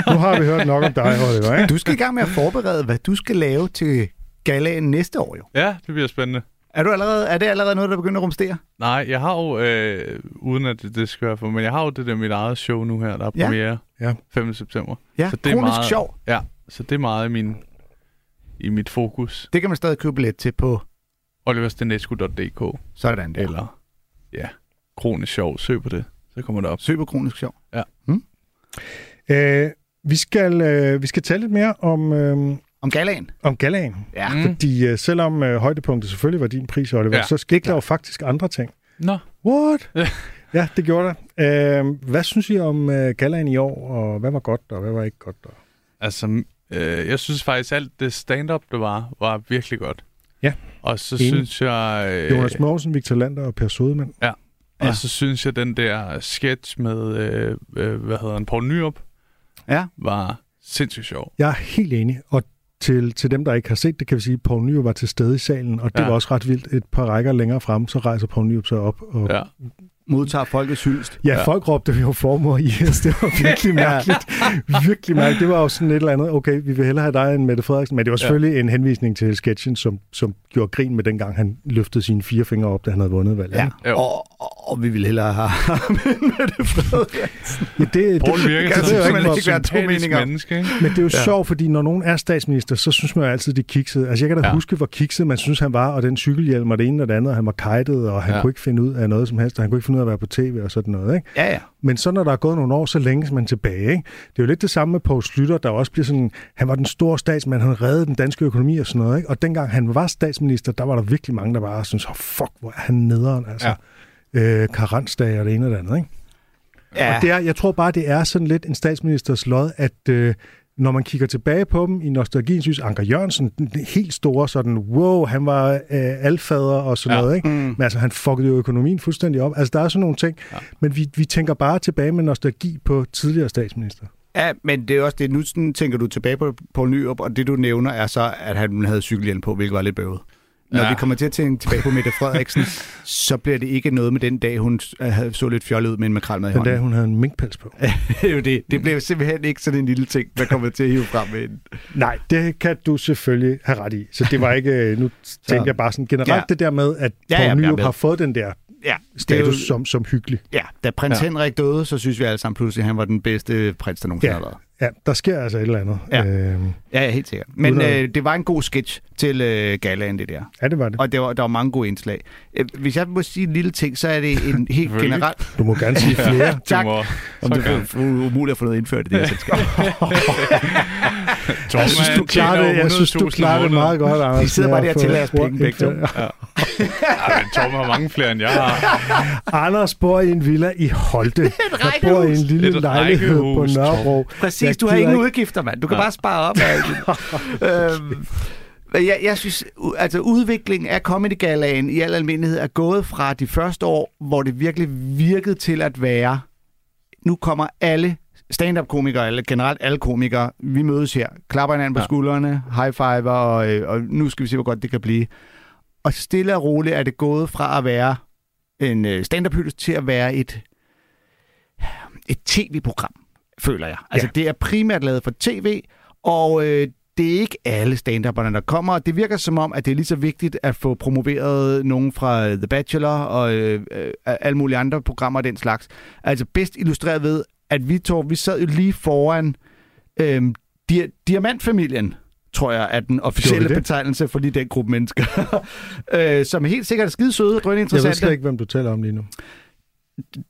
S3: Nu har vi hørt nok om dig, Oliver, ikke?
S2: du skal i gang med at forberede, hvad du skal lave til galaen næste år jo.
S4: Ja, det bliver spændende.
S2: Er, du allerede, er det allerede noget, der begynder at rumstere?
S4: Nej, jeg har jo, øh, uden at det, det skal være for, men jeg har jo det der mit eget show nu her, der er
S2: Ja.
S4: premiere
S3: Ja.
S4: 5. september.
S2: Ja,
S4: Så
S2: så
S4: det er
S2: det kronisk
S4: meget-
S2: meget... sjov.
S4: Ja, så det er meget i, min, i mit fokus.
S2: Det kan man stadig købe billet til på
S4: Oliverstenescu.dk
S2: sådan der.
S4: eller ja, kronisk sjov. Søg på det, så kommer det op.
S2: Søg på kronisk sjov.
S4: *laughs*
S3: Øh, vi, skal, øh, vi skal tale lidt mere om, øh,
S2: Om galaen.
S3: om galaen.
S2: Ja.
S4: Mm.
S3: Fordi øh, selvom øh, højdepunktet selvfølgelig var din pris, Oliver,
S4: Ja,
S3: ja, så skete der jo faktisk andre ting.
S4: Nå.
S3: What?
S4: Ja.
S3: *laughs* ja, det gjorde der. Øh, hvad synes I om øh, galaen i år, og hvad var godt, og hvad var ikke godt? Og...
S4: Altså, øh, jeg synes faktisk, alt det stand-up, der var, var virkelig godt.
S3: Ja.
S4: Og så
S3: Enig.
S4: synes jeg... Øh,
S3: Jonas Mogensen, Victor Lander og Per Sodemann.
S4: Og
S2: Ja.
S4: så synes jeg, den der sketch med, øh, øh, hvad hedder han, Poul Nyrup,
S2: Ja.
S4: var sindssygt sjov.
S3: Jeg er helt enig, og til, til dem, der ikke har set det, kan vi sige, at Poul Nyrup var til stede i salen, og det
S4: Ja.
S3: ja. var også ret vildt. Et par rækker længere frem, så rejser Poul Nyrup sig op. Og... Ja.
S4: Ja.
S2: Modtager folkets hyldest.
S3: ja, folk råbte jo formuer i os. Det *laughs* var virkelig mærkeligt. virkelig mærkeligt. Det var jo sådan et eller andet, okay, vi vil hellere have dig end Mette Frederiksen, men det var selvfølgelig ja. en henvisning til sketchen, som, som gjorde grin med dengang, han løftede sine fire fingre op, da han havde vundet valget.
S2: Ja,
S4: Jo.
S2: og, og, og, vi ville hellere have ham end Mette Frederiksen.
S3: ja det, det,
S4: Poul
S3: det
S4: virker
S3: kan
S4: som
S2: altså
S3: jo
S4: sådan
S3: ikke
S4: en
S2: simpelthen
S3: være
S2: ikke være to
S4: sympatisk
S2: meninger.
S4: menneske, ikke?
S3: Men det er jo
S4: Ja.
S3: ja. sjovt, fordi når nogen er statsminister, så synes man jo altid, de kiksede. Altså, jeg kan da
S4: Ja.
S3: ja. huske, hvor kikset man synes, han var, og den cykelhjelm og det ene og det andet, og han var kajtet, og han
S4: Ja.
S3: ja. kunne ikke finde ud af noget som helst, og han kunne ikke finde ud af at være på tv og sådan noget. Ikke?
S2: Ja, ja.
S3: Men så når der er gået nogle år, så længes man tilbage. Ikke? Det er jo lidt det samme med Poul Slytter, der også bliver sådan, han var den store statsmand, han reddede den danske økonomi og sådan noget. Ikke? Og dengang han var statsminister, der var der virkelig mange, der bare syntes, oh, fuck, hvor er han nederen, altså. Ja. Øh, karensdage og det ene og det andet, ikke?
S2: Ja.
S3: Og det er, jeg tror bare, det er sådan lidt en statsministers lod, at øh, når man kigger tilbage på dem i nostalgien, synes Anker Jørgensen, den den helt store sådan, wow, han var øh, alfader og sådan
S4: Ja.
S3: noget, ikke? Mm. Men altså, han fuckede jo økonomien fuldstændig op. Altså, der er sådan nogle ting, ja. men vi, vi tænker bare tilbage med nostalgi på tidligere statsminister.
S2: Ja, men det er også det. Nu sådan tænker du tilbage på Poul Nyrup, og det du nævner er så, at han havde cykelhjelm på, hvilket var lidt bøvet. Når
S4: Ja.
S2: ja. vi kommer til at tænke tilbage på Mette *laughs* Frederiksen, så bliver det ikke noget med den dag, hun øh, havde- så lidt fjollet ud med en makrel med i
S3: Den dag,
S2: hånden.
S3: hun havde en minkpels på.
S2: *laughs* Det er jo det. Det bliver jo simpelthen ikke sådan en lille ting, der kommer til at hive frem med hende.
S3: *laughs* Nej, det kan du selvfølgelig have ret i. Så det var ikke... øh, *laughs* Nu tænker jeg bare sådan generelt ja.
S2: Ja.
S3: det der med, at
S2: Ja,
S3: Poul
S2: ja, jeg er
S3: Nyrup
S2: med.
S3: har fået den der
S2: Ja, det er
S3: status
S2: jo,
S3: som, som hyggelig.
S2: ja, da prins
S4: Ja.
S2: ja. Henrik døde, så synes vi alle sammen pludselig, at han var den bedste prins, der nogensinde
S3: Ja.
S2: ja. har været.
S3: Ja, der sker altså et eller andet.
S2: Ja.
S3: Øhm,
S2: Ja, ja, helt sikkert. Men
S3: Uden at-
S2: øh, det var en god sketch til øh, galaen, det der.
S3: ja det var det.
S2: Og det var, der var mange gode indslag. Øh, Hvis jeg må sige en lille ting, så er det en helt
S4: Selvfølgelig.
S2: generel...
S3: Du må gerne sige flere.
S2: Tak.
S4: Du må,
S2: Om
S4: så
S2: det
S4: gerne.
S2: er umuligt at få noget indført *laughs* i det her selskab.
S3: Jeg synes, du
S4: Thomas tjener
S3: klarer det, jeg synes, du
S4: 100.000
S3: klarer det
S4: måneder.
S3: meget godt, Anders.
S2: sidder
S3: med
S2: bare
S3: at få
S2: der og tæller jeres
S3: ord
S2: penge begge to.
S3: indført.
S4: Ej, men Tom har mange flere, end jeg har.
S3: Anders bor i en villa i
S2: *laughs*
S3: Holte. Jeg bor i en
S4: Et
S3: lille lejlighed på
S4: rækkehus,
S3: Nørrebro.
S2: Præcis,
S3: Jeg
S2: du har
S3: gider
S2: ingen
S3: ikke-
S2: udgifter, mand. Du kan bare
S3: *laughs*
S2: spare op. øhm, men jeg, jeg synes, u- altså udviklingen af Comedy Galaen i al almindelighed er gået fra de første år, hvor det virkelig virkede til at være, nu kommer alle stand-up-komikere, eller generelt alle komikere, vi mødes her, klapper hinanden på
S4: Ja.
S2: skuldrene, high-fiver, og, øh, og nu skal vi se, hvor godt det kan blive. Og stille og roligt er det gået fra at være en øh, stand-up hyldest til at være et, et tv-program, føler jeg. Altså, ja. det er primært lavet for tv, og øh, det er ikke alle stand der kommer. Det virker som om, at det er lige så vigtigt at få promoveret nogen fra øh, The Bachelor og øh, øh, alle mulige andre programmer af den slags. Altså bedst illustreret ved, at vi, tog, vi sad jo lige foran øh, di- Diamantfamilien, tror jeg, er den officielle
S3: det?
S2: betegnelse for lige den gruppe mennesker, *laughs* øh, som helt sikkert er skide søde og
S3: Jeg ved
S2: drøninteressante.
S3: slet ikke, hvem du taler om lige nu.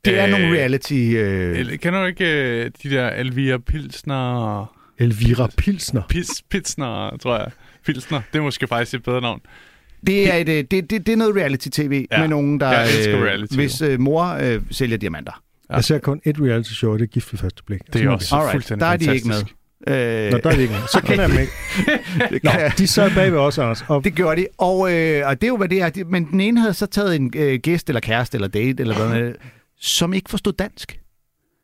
S2: Det er
S4: Øh,
S2: nogle reality... Øh,
S4: Eller, Kender du ikke øh, de der Elvira Pilsner og...
S3: Elvira Pilsner.
S4: Pis, Pilsner, tror jeg. Pilsner, det er måske faktisk et bedre navn.
S2: det, er et, øh, det, det, det er noget reality-tv
S4: Ja,
S2: med nogen, der...
S4: jeg elsker reality.
S2: hvis øh, mor øh, sælger diamanter.
S4: Ja.
S3: Jeg ser kun et reality show, og det er gift ved første blik.
S4: Det er også
S2: Alright,
S4: fuldstændig
S2: der er de
S4: fantastisk.
S2: ikke med. Øh,
S3: Nå, der er de ikke. Så kender jeg dem ikke.
S2: det,
S3: Nå,
S2: *laughs* kan jeg-
S3: de sad bag ved os, Anders. Og
S2: det gjorde de, og, øh, og det er jo, hvad det er. De- Men den ene havde så taget en øh, gæst, eller kæreste, eller date, eller hvad med, som ikke forstod dansk.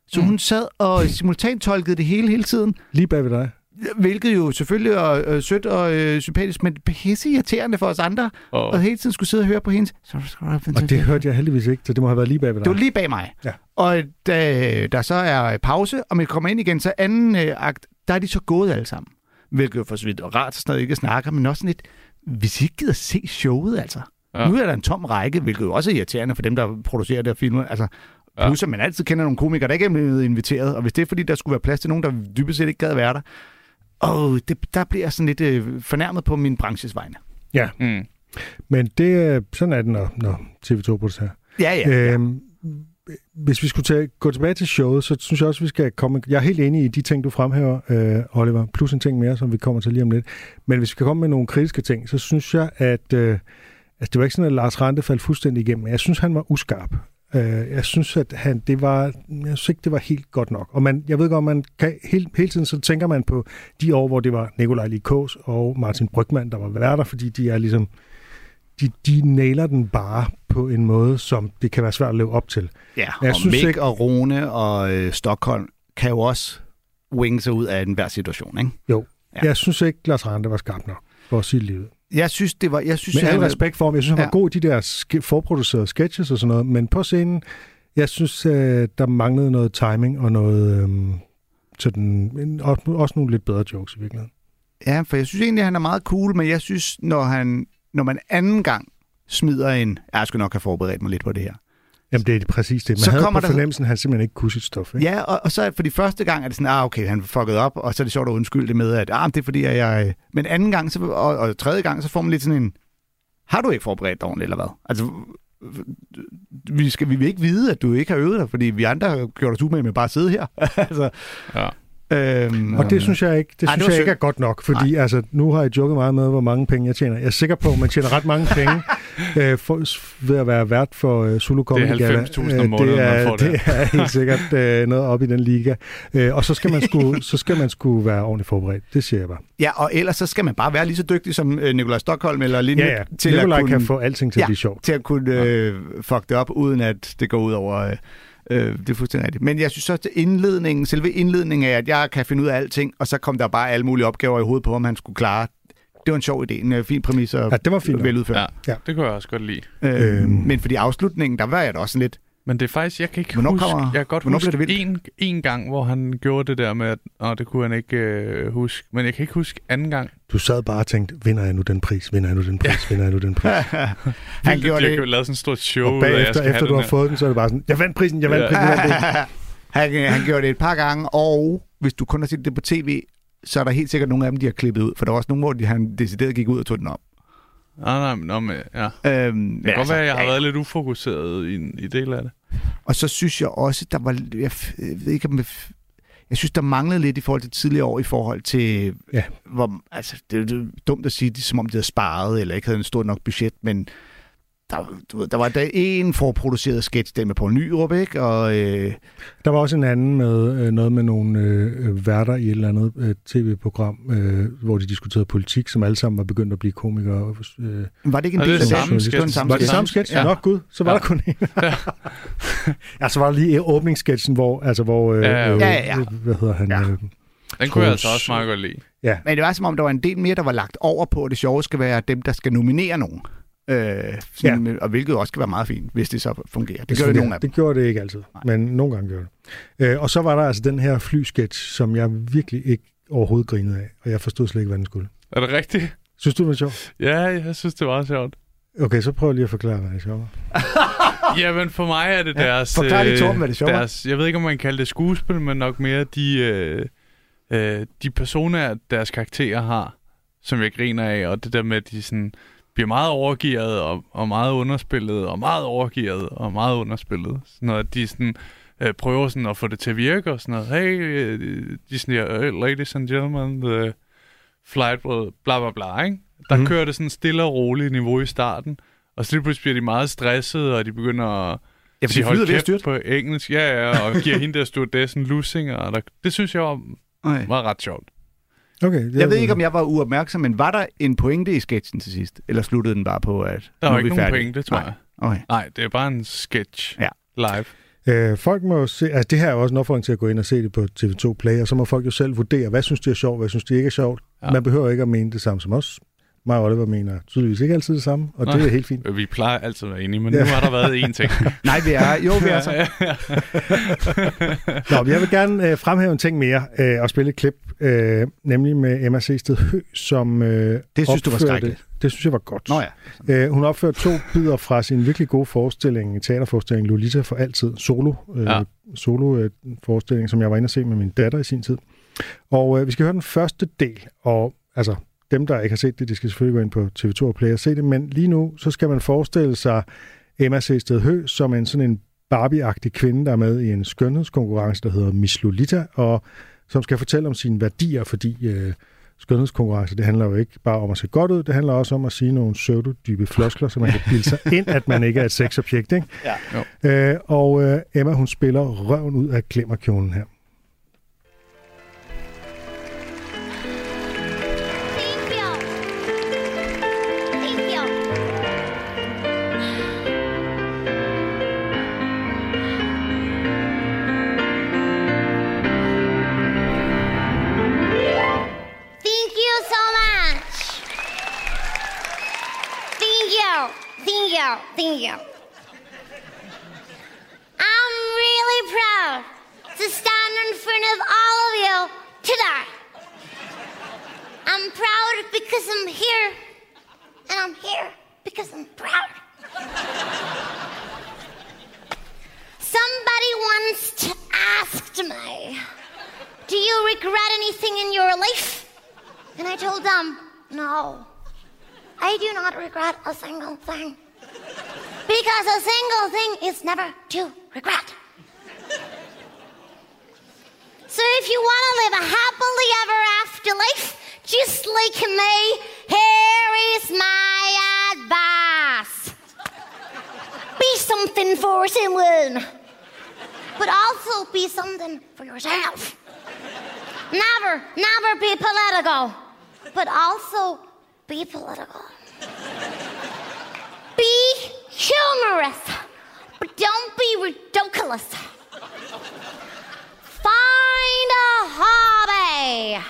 S2: Så hun sad og simultantolkede det hele, hele tiden.
S3: lige bag ved dig.
S2: Hvilket jo selvfølgelig er øh, sødt og øh, sympatisk, men pisse irriterende for os andre.
S4: Og,
S2: Og hele tiden skulle sidde og høre på hendes...
S3: Og det hørte jeg heldigvis ikke, så det må have været lige bag ved
S2: Det var
S3: dig.
S2: lige bag mig.
S3: Ja.
S2: Og da der så er pause, og man kommer ind igen, så anden øh, akt, der er de så gået alle sammen. Hvilket jo for så vidt er rart, sådan noget ikke at snakke, men også sådan lidt, hvis I ikke gider se showet, altså.
S4: Ja.
S2: Ja. Nu er der en tom række, hvilket jo også er irriterende for dem, der producerer det og filmer. Altså,
S4: Ja.
S2: plus, at man altid kender nogle komikere, der ikke er blevet inviteret, og hvis det er, fordi der skulle være plads til nogen, der dybest set ikke gad være der, og det, der bliver jeg sådan lidt øh, fornærmet på min branches vegne.
S4: mm.
S3: Men det, øh, sådan er det, når, når TV2 producerer.
S2: Ja, ja. Øh,
S3: Øhm, hvis vi skulle tage, gå tilbage til showet, så synes jeg også, vi skal komme... Jeg er helt enig i de ting, du fremhæver, øh, Oliver, plus en ting mere, som vi kommer til lige om lidt. Men hvis vi kan komme med nogle kritiske ting, så synes jeg, at... Øh, altså, det var ikke sådan, at Lars Rante faldt fuldstændig igennem, men jeg synes, han var uskarp. Øh, jeg synes, at han, det var, jeg synes ikke, det var helt godt nok. Og man, jeg ved godt, man kan, hele, hele tiden så tænker man på de år, hvor det var Nikolaj Likås og Martin Brygman, der var værter, fordi de er ligesom de, de nailer den bare på en måde, som det kan være svært at leve op til.
S2: ja.
S3: jeg
S2: og
S3: synes
S2: Mick
S3: ikke-
S2: og Rune og øh, Stockholm kan jo også winge sig ud af enhver situation, ikke?
S3: Ja.
S2: Ja.
S3: Jeg synes ikke, Lars Rante var skarp nok for at sige livet.
S2: Jeg synes, det var... Jeg synes,
S3: Med
S2: han
S3: al
S2: var-
S3: respekt for ham, jeg synes, han var
S2: Ja.
S3: god i de der ske- forproducerede sketches og sådan noget, men på scenen, jeg synes, øh, der manglede noget timing og noget... Øhm, sådan, en- og- også nogle lidt bedre jokes i virkeligheden.
S2: Ja, for jeg synes egentlig, han er meget cool, men jeg synes, når, han, når man anden gang smider en... "Ja, Jeg skal nok have forberedt mig lidt på det her.
S3: Jamen, det er præcis det. Man
S2: Så
S3: så havde på
S2: kommer der-
S3: fornemmelsen, at han simpelthen ikke kunne sit stof. Ikke?
S2: Ja, og, og så er det- for de første gang er det sådan, ah, okay, han fuckede op, og så er det sjovt at undskylde det med, at ah, det er fordi, at jeg... Men anden gang, så, og, og tredje gang, så får man lidt sådan en... Har du ikke forberedt dig ordentligt, eller hvad? Altså, vi, skal, vi vil ikke vide, at du ikke har øvet dig, fordi vi andre har gjort os umage med bare at sidde her. *laughs* altså,
S4: ja.
S2: Øhm,
S3: Og det synes jeg ikke, det
S2: Ej,
S3: synes
S2: det var
S3: jeg ikke er
S2: synd.
S3: godt nok, fordi altså, nu har jeg joket meget med, hvor mange penge jeg tjener. Jeg er sikker på, at man tjener ret mange
S4: *laughs*
S3: penge øh, for, ved at være vært for øh, Zulu Comedy Gala.
S4: 90.000 om
S3: Øh,
S4: måneden,
S3: det er,
S4: man får der.
S3: det er helt sikkert øh, noget op i den liga. Øh, og så skal, man
S4: *laughs*
S3: sku, så skal man sku være ordentligt forberedt, det siger jeg bare.
S2: Ja, og ellers så skal man bare være lige så dygtig som øh, Nikolaj Stockholm eller lignende.
S3: Ja, ja. Til Nikolaj kan få alting til at
S2: ja,
S3: blive sjovt.
S2: til at kunne øh, fuck det op, uden at det går ud over... Øh, øh, det er fuldstændig rigtigt. Men jeg synes så, at indledningen, selve indledningen af, at jeg kan finde ud af alting, og så kom der bare alle mulige opgaver i hovedet på, om han skulle klare. Det var en sjov idé, en øh, fin præmis og
S3: Ja, det var fint nok.
S2: veludført.
S4: Ja,
S3: Ja.
S4: ja, det kunne jeg også godt lide.
S2: Øh,
S3: Øhm.
S2: men fordi afslutningen, der var jeg da også sådan lidt... *laughs*
S4: Men det er faktisk, jeg kan ikke
S2: Hvornår
S4: huske,
S2: kommer-
S4: jeg kan godt
S2: hvornår
S4: huske
S2: bliver det
S4: en, en gang, hvor han gjorde det der med, at åh, det kunne han ikke øh, huske, men jeg kan ikke huske anden gang.
S3: Du sad bare og tænkte, vinder jeg nu den pris, vinder jeg nu den pris, vinder jeg nu den pris.
S2: Han gjorde
S4: Jeg
S2: det,
S4: lavede sådan et stort show,
S3: Og
S4: ud af, at jeg
S3: bagefter,
S4: skal
S3: efter
S4: have
S3: du
S4: den
S3: har
S4: her.
S3: fået den, så er det bare sådan, jeg vandt prisen, jeg vandt
S4: Ja.
S3: prisen. Jeg vandt prisen.
S2: *laughs* han, øh, han gjorde det et par gange, og hvis du kun har set det på tv, så er der helt sikkert nogle af dem, de har klippet ud, for der var også nogle, hvor de, han decideret gik ud og tog den op.
S4: Ah, Nej, nej, men, nå, men, ja.
S2: Øhm,
S4: Det kan godt være, at jeg har været lidt ufokuseret i, i del af det.
S2: Og så synes jeg også, der var... Jeg, f- jeg ved ikke, om jeg, f- jeg synes, der manglede lidt i forhold til tidligere år, i forhold til...
S3: Ja.
S2: Hvor, altså, det er jo dumt at sige, det, er, som om de havde sparet, eller ikke havde en stor nok budget, men der, du ved, der var der en forproduceret sketch, den med Poul Nyrup, ikke? Og, øh,
S3: Der var også en anden med øh, noget med nogle øh, øh, værter i et eller andet øh, tv-program, øh, hvor de diskuterede politik, som alle sammen var begyndt at blive komikere. Øh,
S2: var det ikke en
S4: Og
S2: del
S4: det er
S2: af
S4: det samme
S2: Det var den
S4: sketch.
S2: samme
S3: var det
S2: sketch.
S3: samme sketch?
S4: Ja.
S3: Ja. Nå, gud, så var ja.
S4: Ja.
S3: der kun en. *laughs* ja, så var der lige åbningssketchen, hvor, altså, hvor øh,
S4: Ja, ja.
S3: øh,
S2: Ja, ja, ja.
S3: hvad hedder han?
S2: Ja.
S3: Ja. Øh,
S4: Den kunne jeg
S3: Troels.
S4: altså også meget godt lide.
S3: ja.
S2: Men det var som om, der var en del mere, der var lagt over på, at det sjove skal være dem, der skal nominere nogen. Øh, sådan, Og hvilket også skal være meget fint, hvis det så fungerer. Det, det gør jo
S3: fungerer.
S2: nogen af dem.
S3: Det gjorde det ikke altid,
S2: Nej.
S3: men nogle gange gjorde det. Øh, og så var der altså den her flysketch, som jeg virkelig ikke overhovedet grinede af, og jeg forstod slet ikke, hvad den skulle.
S4: Er det rigtigt?
S3: Synes du, det var sjovt?
S4: Ja, jeg synes, det var sjovt.
S3: Okay, så prøv lige at forklare, hvad det sjovt var.
S4: *laughs* Jamen, for mig er det
S2: Ja,
S4: deres...
S2: forklar lige,
S4: øh,
S2: Torben, hvad det sjove er.
S4: deres, Jeg ved ikke, om man kalder det skuespil, men nok mere de, øh, øh, de personer, deres karakterer har, som jeg griner af, og det der med, at de sådan bliver meget overgearet og, og meget underspillet, og meget overgearet og meget underspillet. Sådan noget, at de sådan, øh, prøver sådan at få det til at virke, og sådan noget, hey, øh, de sådan her, "Hey, ladies and gentlemen, the flight, will bla bla bla, ikke? Der
S3: Mhm.
S4: kører det sådan stille og roligt niveau i starten, og så lige pludselig bliver de meget stressede, og de begynder at
S2: Ja, for
S4: sige,
S2: de
S4: hold
S2: flyder ved at
S4: kæft
S2: styrte.
S4: på engelsk, ja, ja, og giver hende der stewardessen lussinger, og der, det synes jeg var,
S2: Nej.
S4: var ret sjovt.
S3: Okay, det
S2: Jeg ved ikke, om jeg var uopmærksom, men var der en pointe i sketchen til sidst? Eller sluttede den bare på, at
S4: Der var
S2: nu er vi
S4: ikke nogen
S2: færdige?
S4: pointe, tror
S2: Nej.
S4: jeg.
S2: Okay.
S4: Nej, det er bare en sketch
S2: Ja.
S4: live.
S3: Øh, folk må jo se, altså det her er jo også en opfordring til at gå ind og se det på TV2 Play, og så må folk jo selv vurdere, hvad synes de er sjovt, hvad synes de ikke er sjovt. Ja.
S4: Ja.
S3: Man behøver ikke at mene det samme som os. Mig og Oliver mener tydeligvis ikke altid det samme, og det
S4: Nej.
S3: er helt fint.
S4: Vi plejer altid at være enige, men
S3: Ja.
S4: nu har der været én ting.
S2: Nej, vi er... *laughs* Jo,
S4: *laughs*
S2: vi er så.
S3: Nå, men jeg vil gerne øh, fremhæve en ting mere øh, og spille et klip, øh, nemlig med Emma Sted Hø, som øh,
S2: Det synes du var
S3: opførte-
S2: skrækkeligt.
S3: Det synes jeg var godt.
S2: Nå ja.
S3: Øh, hun opførte to bidder fra sin virkelig gode forestilling, teaterforestilling Lolita for altid, solo, øh, ja.
S4: Ja.
S3: solo øh, forestilling, som jeg var inde og se med min datter i sin tid. Og øh, vi skal høre den første del, og altså dem, der ikke har set det, de skal selvfølgelig gå ind på TV2 og Play og se det, men lige nu, så skal man forestille sig Emma Sted Hø som en sådan en Barbie-agtig kvinde, der er med i en skønhedskonkurrence, der hedder Miss Lolita, og som skal fortælle om sine værdier, fordi øh, skønhedskonkurrence, det handler jo ikke bare om at se godt ud, det handler også om at sige nogle pseudodybe floskler, så man kan bilde sig ind, at man ikke er et sexobjekt, ikke? Ja. Øh, og øh, Emma, hun spiller røven ud af glimmerkjolen her.
S5: Thank you. Thank you. Thank you so much. Thank you. Thank you. Thank you. I'm really proud to stand in front of all of you today. I'm proud because I'm here. And I'm here because I'm proud. Somebody once t- asked me, Do you regret anything in your life? And I told them, No. I do not regret a single thing. Because a single thing is never to regret. So if you want to live a happily ever after life, just like me, here is my advice. Be something for someone, but also be something for yourself. Never, never be political, but also be political. Be humorous, but don't be ridiculous. Find a hobby,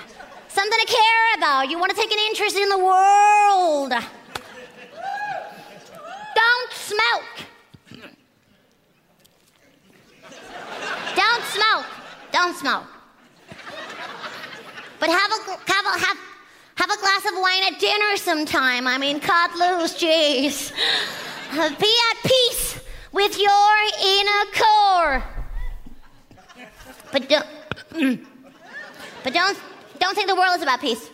S5: something to care about. You want to take an interest in the world. Don't smoke. Don't smoke. Don't smoke. But have a gl- have a, have, have a glass of wine at dinner sometime. I mean, cut loose, jeez. Uh, Be at peace with your inner core. But don't, mm. but don't don't think the world is about peace.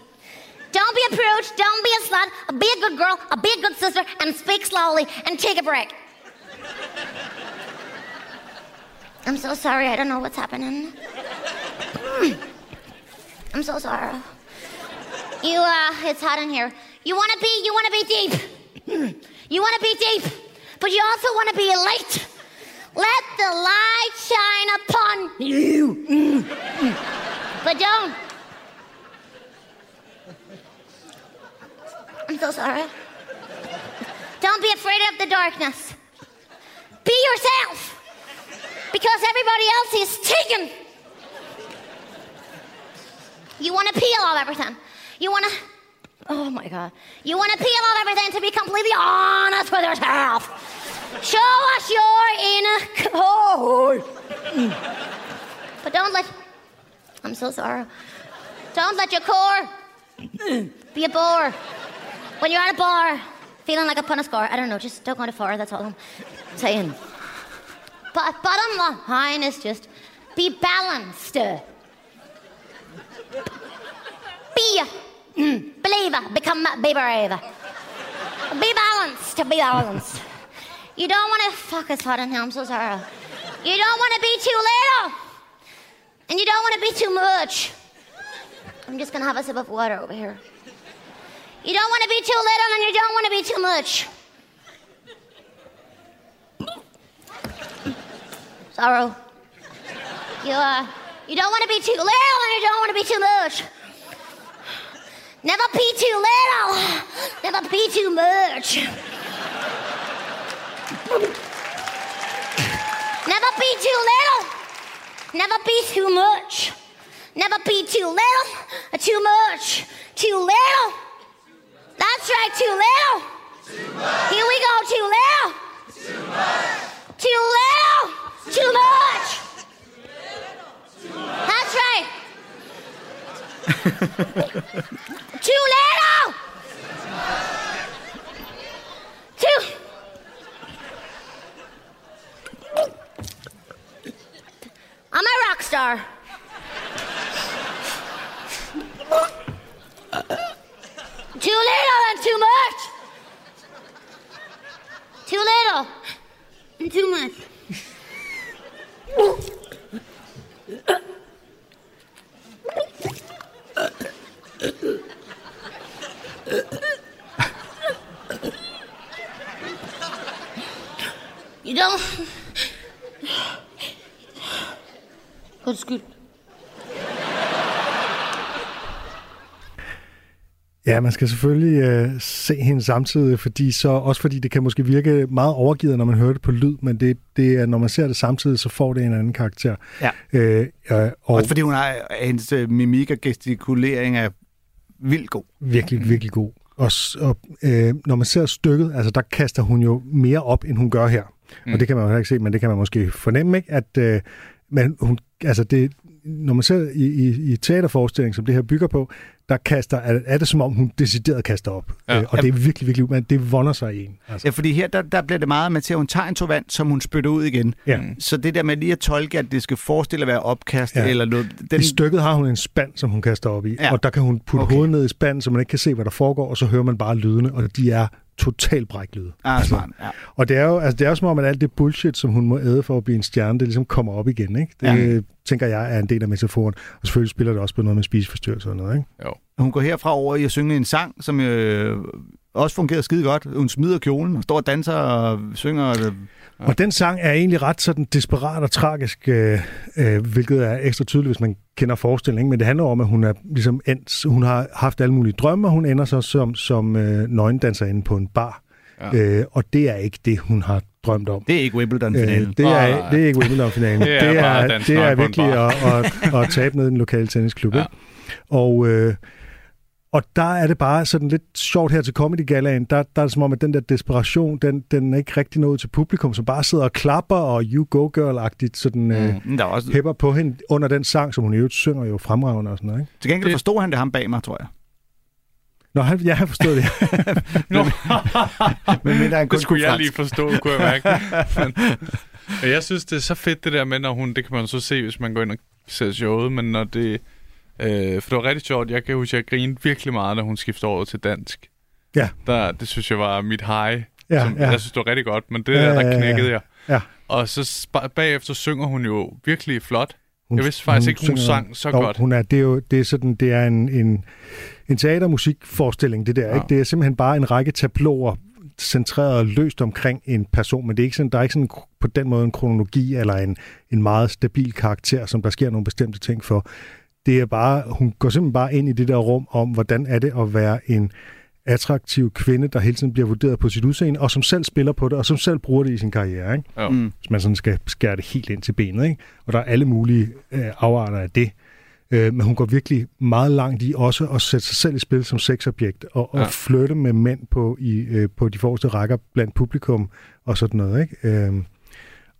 S5: Don't be a prude. Don't be a slut. Be a good girl. Be a good sister, and speak slowly. And take a break. I'm so sorry. I don't know what's happening. Mm. I'm so sorry. You, uh, it's hot in here. You want to be, you want to be deep. You want to be deep, but you also want to be light. Let the light shine upon you. But don't. I'm so sorry. Don't be afraid of the darkness. Be yourself, because everybody else is taken. You want to peel off everything. You want to. Oh my God. You want to peel off everything to be completely honest with yourself. Show us your inner core. but don't let. I'm so sorry. Don't let your core be a bore. When you're at a bar, feeling like a pun score, I don't know, just don't go too far, that's all I'm saying. But bottom line is just be balanced. be mm, believer, become a be brave. Be balanced, be balanced. You don't want to fuck it's hot in here. I'm so sorry. You don't want to be too little, and you don't want to be too much. I'm just gonna have a sip of water over here. You don't want to be too little, and you don't want to be too much. Sorrow. You uh, you don't want to be too little, and you don't want to be too much. Never be too little. Never be too much. Never be too little. Never be too much. Never be too little or too much. Too little. That's right, too little. Here we go, too little. Too little. Too much. That's right. Too little. Too. I'm a rock star. Too little and too much. Too little and too much. You don't. Undskyld.
S3: Ja, man skal selvfølgelig øh, se hende samtidig, fordi så, også fordi det kan måske virke meget overgivet, når man hører det på lyd, men det, det er, når man ser det samtidig, så får det en anden karakter.
S2: Ja.
S3: Øh, øh, og
S2: Også fordi hun har hendes øh, mimik og gestikulering er vildt god. Mm.
S3: virkelig, virkelig god. Og, s- og øh, når man ser stykket, altså der kaster hun jo mere op, end hun gør her. Mm. Og det kan man jo heller ikke se, men det kan man måske fornemme, ikke? At, øh, men hun, altså det, når man ser i, i, i teaterforestilling, som det her bygger på, der kaster, er, er det som om, hun decideret kaster op.
S4: Ja.
S3: Ja. Øh, og det er virkelig, virkelig, men det vonder sig i en. Altså.
S2: Ja, fordi her, der, der bliver det meget med til, at hun tager en tog vand, som hun spytter ud igen.
S3: Ja.
S2: Så det der med lige at tolke, at det skal forestille at være opkast ja.
S3: Ja.
S2: eller noget. Den,
S3: I stykket har hun en spand, som hun kaster op i,
S2: Ja.
S3: ja. og der kan hun putte
S2: Okay.
S3: okay. hovedet ned i spanden, så man ikke kan se, hvad der foregår, og så hører man bare lydene, og de er total bræklyde.
S2: Ah, smart. Ja.
S3: Og det er jo altså, det er jo som om, at alt det bullshit, som hun må æde for at blive en stjerne, det ligesom kommer op igen. Ikke? Det
S2: Ja.
S3: ja. tænker jeg er en del af metaforen. Og selvfølgelig spiller det også på noget med spiseforstyrrelser og noget. Ikke?
S2: Hun går herfra over i at synge en sang, som øh, også fungerer skide godt. Hun smider kjolen og står og danser og synger. Og,
S3: Ja. Og den sang er egentlig ret sådan desperat og tragisk, øh, øh, hvilket er ekstra tydeligt, hvis man kender forestillingen. Men det handler om, at hun er ligesom endt, hun har haft alle mulige drømme, og hun ender så som, som øh, nøgendanserinde på en bar.
S4: Ja.
S3: Ja. Øh, og det er ikke det, hun har drømt om.
S2: det er ikke Wimbledon-finalen.
S3: Øh,
S2: Øh,
S3: det, er,
S4: Nej.
S3: det er ikke Wimbledon-finalen.
S4: Ah, *laughs* Det er
S3: det
S4: bare
S3: er,
S4: at danse
S3: det er
S4: nøgen på en
S3: virkelig at, at, at tabe ned i den lokale tennisklub.
S4: Ja.
S3: Ja. Og, øh, og der er det bare sådan lidt sjovt her til Comedy Galaen, der, der er det som om, at den der desperation, den, den er ikke rigtig nået til publikum, som bare sidder og klapper og you go girl-agtigt sådan... Mm. Øh,
S2: der er også,
S3: hæpper på hende under den sang, som hun i øvrigt synger jo fremragende og sådan noget. Ikke?
S2: til gengæld
S4: Det-
S2: forstod han det ham bag mig, tror jeg.
S3: Nå, han, jeg har forstået det. *laughs*
S2: Men, men der er han kun
S4: Det skulle
S2: kunne
S4: jeg
S2: fransk.
S4: lige forstå, kunne jeg
S3: *laughs*
S4: mærke. Men, men jeg synes, det er så fedt det der med, når hun... Det kan man så se, hvis man går ind og ser showet, men når det... Øh, for det var rigtig sjovt. Jeg kan huske, at jeg grinede virkelig meget, da hun skiftede over til dansk.
S3: Ja.
S4: Der, det synes jeg var mit high.
S3: Ja,
S4: som,
S3: ja.
S4: Jeg synes, det var rigtig godt, men det
S3: Ja,
S4: der,
S3: ja,
S4: der
S3: ja,
S4: knækkede
S3: ja.
S4: jeg.
S3: Ja.
S4: Og så sp- bagefter synger hun jo virkelig flot.
S3: Hun,
S4: Jeg vidste faktisk ikke, hun
S3: synger-
S4: sang så
S3: Dog,
S4: godt.
S3: Hun er, det er jo det er sådan, det er en, en, en teatermusikforestilling, det der. Ja. Ikke? Det er simpelthen bare en række tabloer centreret og løst omkring en person, men det er ikke sådan, der er ikke sådan kro- på den måde en kronologi eller en, en meget stabil karakter, som der sker nogle bestemte ting for. Det er bare, hun går simpelthen bare ind i det der rum om, hvordan er det at være en attraktiv kvinde, der hele tiden bliver vurderet på sit udseende, og som selv spiller på det, og som selv bruger det i sin karriere. Ikke?
S4: Ja.
S2: Mm.
S3: hvis man sådan skal skære det helt ind til benet. Ikke? Og der er alle mulige øh, afarter af det. Øh, men hun går virkelig meget langt i også at sætte sig selv i spil som sexobjekt, og, og
S4: Ja.
S3: flytte med mænd på, i, øh, på de forreste rækker blandt publikum og sådan noget. Ikke? Øh,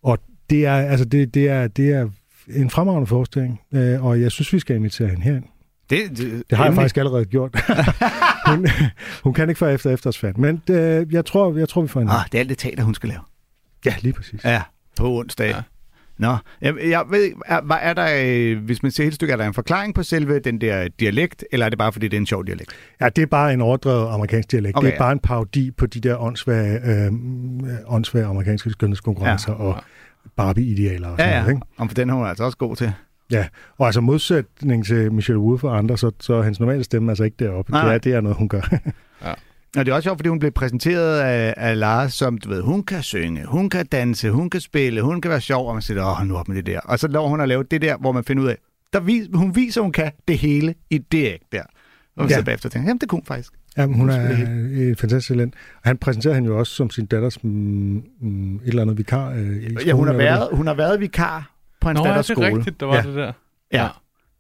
S3: og det er, altså det, det, er, det er en fremragende forestilling, øh, og jeg synes, vi skal invitere hende herind.
S2: Det, det,
S3: Det har jeg faktisk allerede gjort. *laughs* hun, hun kan ikke få efter efterårsfand, men øh, jeg, tror, jeg tror, vi får hende.
S2: Ah, det er alt det teater, hun skal lave.
S3: Ja, lige præcis.
S2: Ja, på onsdag. Ja.
S4: Ja.
S2: Nå, jeg, jeg ved ikke, er, hvad er der, øh, hvis man ser hele stykket, er der en forklaring på selve den der dialekt, eller er det bare fordi, det er en sjov dialekt?
S3: Ja, det er bare en overdrevet amerikansk dialekt.
S2: Okay,
S3: Okay, det er
S2: ja.
S3: ja. bare en parodi på de der åndssvage, øh, åndssvage amerikanske skønhedskonkurrencer ja. og Barbie-idealer og sådan
S2: Ja,
S3: noget.
S2: ja,
S3: Ikke?
S2: om for den er hun altså også god til.
S3: Ja, og altså modsætning til Michelle Wolf og andre, så, så er hendes normale stemme altså ikke deroppe.
S2: Nej,
S3: Det
S2: nej.
S3: er, det er noget, hun
S2: *laughs*
S3: gør.
S2: Og det er også sjovt, fordi hun blev præsenteret af, af Lars, som du ved, hun kan synge, hun kan danse, hun kan spille, hun kan være sjov, og man siger, åh, nu op med det der. Og så lover hun at lave det der, hvor man finder ud af, der vis, hun viser, hun kan det hele i det ægte der. Og
S3: Ja.
S2: så bagefter tænker, jamen det kunne hun faktisk.
S3: Jamen, hun
S2: spiller
S3: er et fantastisk talent. Og han præsenterer hende jo også som sin datters mm, mm, et eller andet vikar. Øh, i
S2: Ja, hun
S3: skolen,
S2: har
S3: eller hvad
S2: været, hun har været vikar på hans
S4: Nå, ja,
S2: datters
S4: det er
S2: skole.
S4: rigtigt, der var
S3: Ja.
S4: det der.
S2: Ja.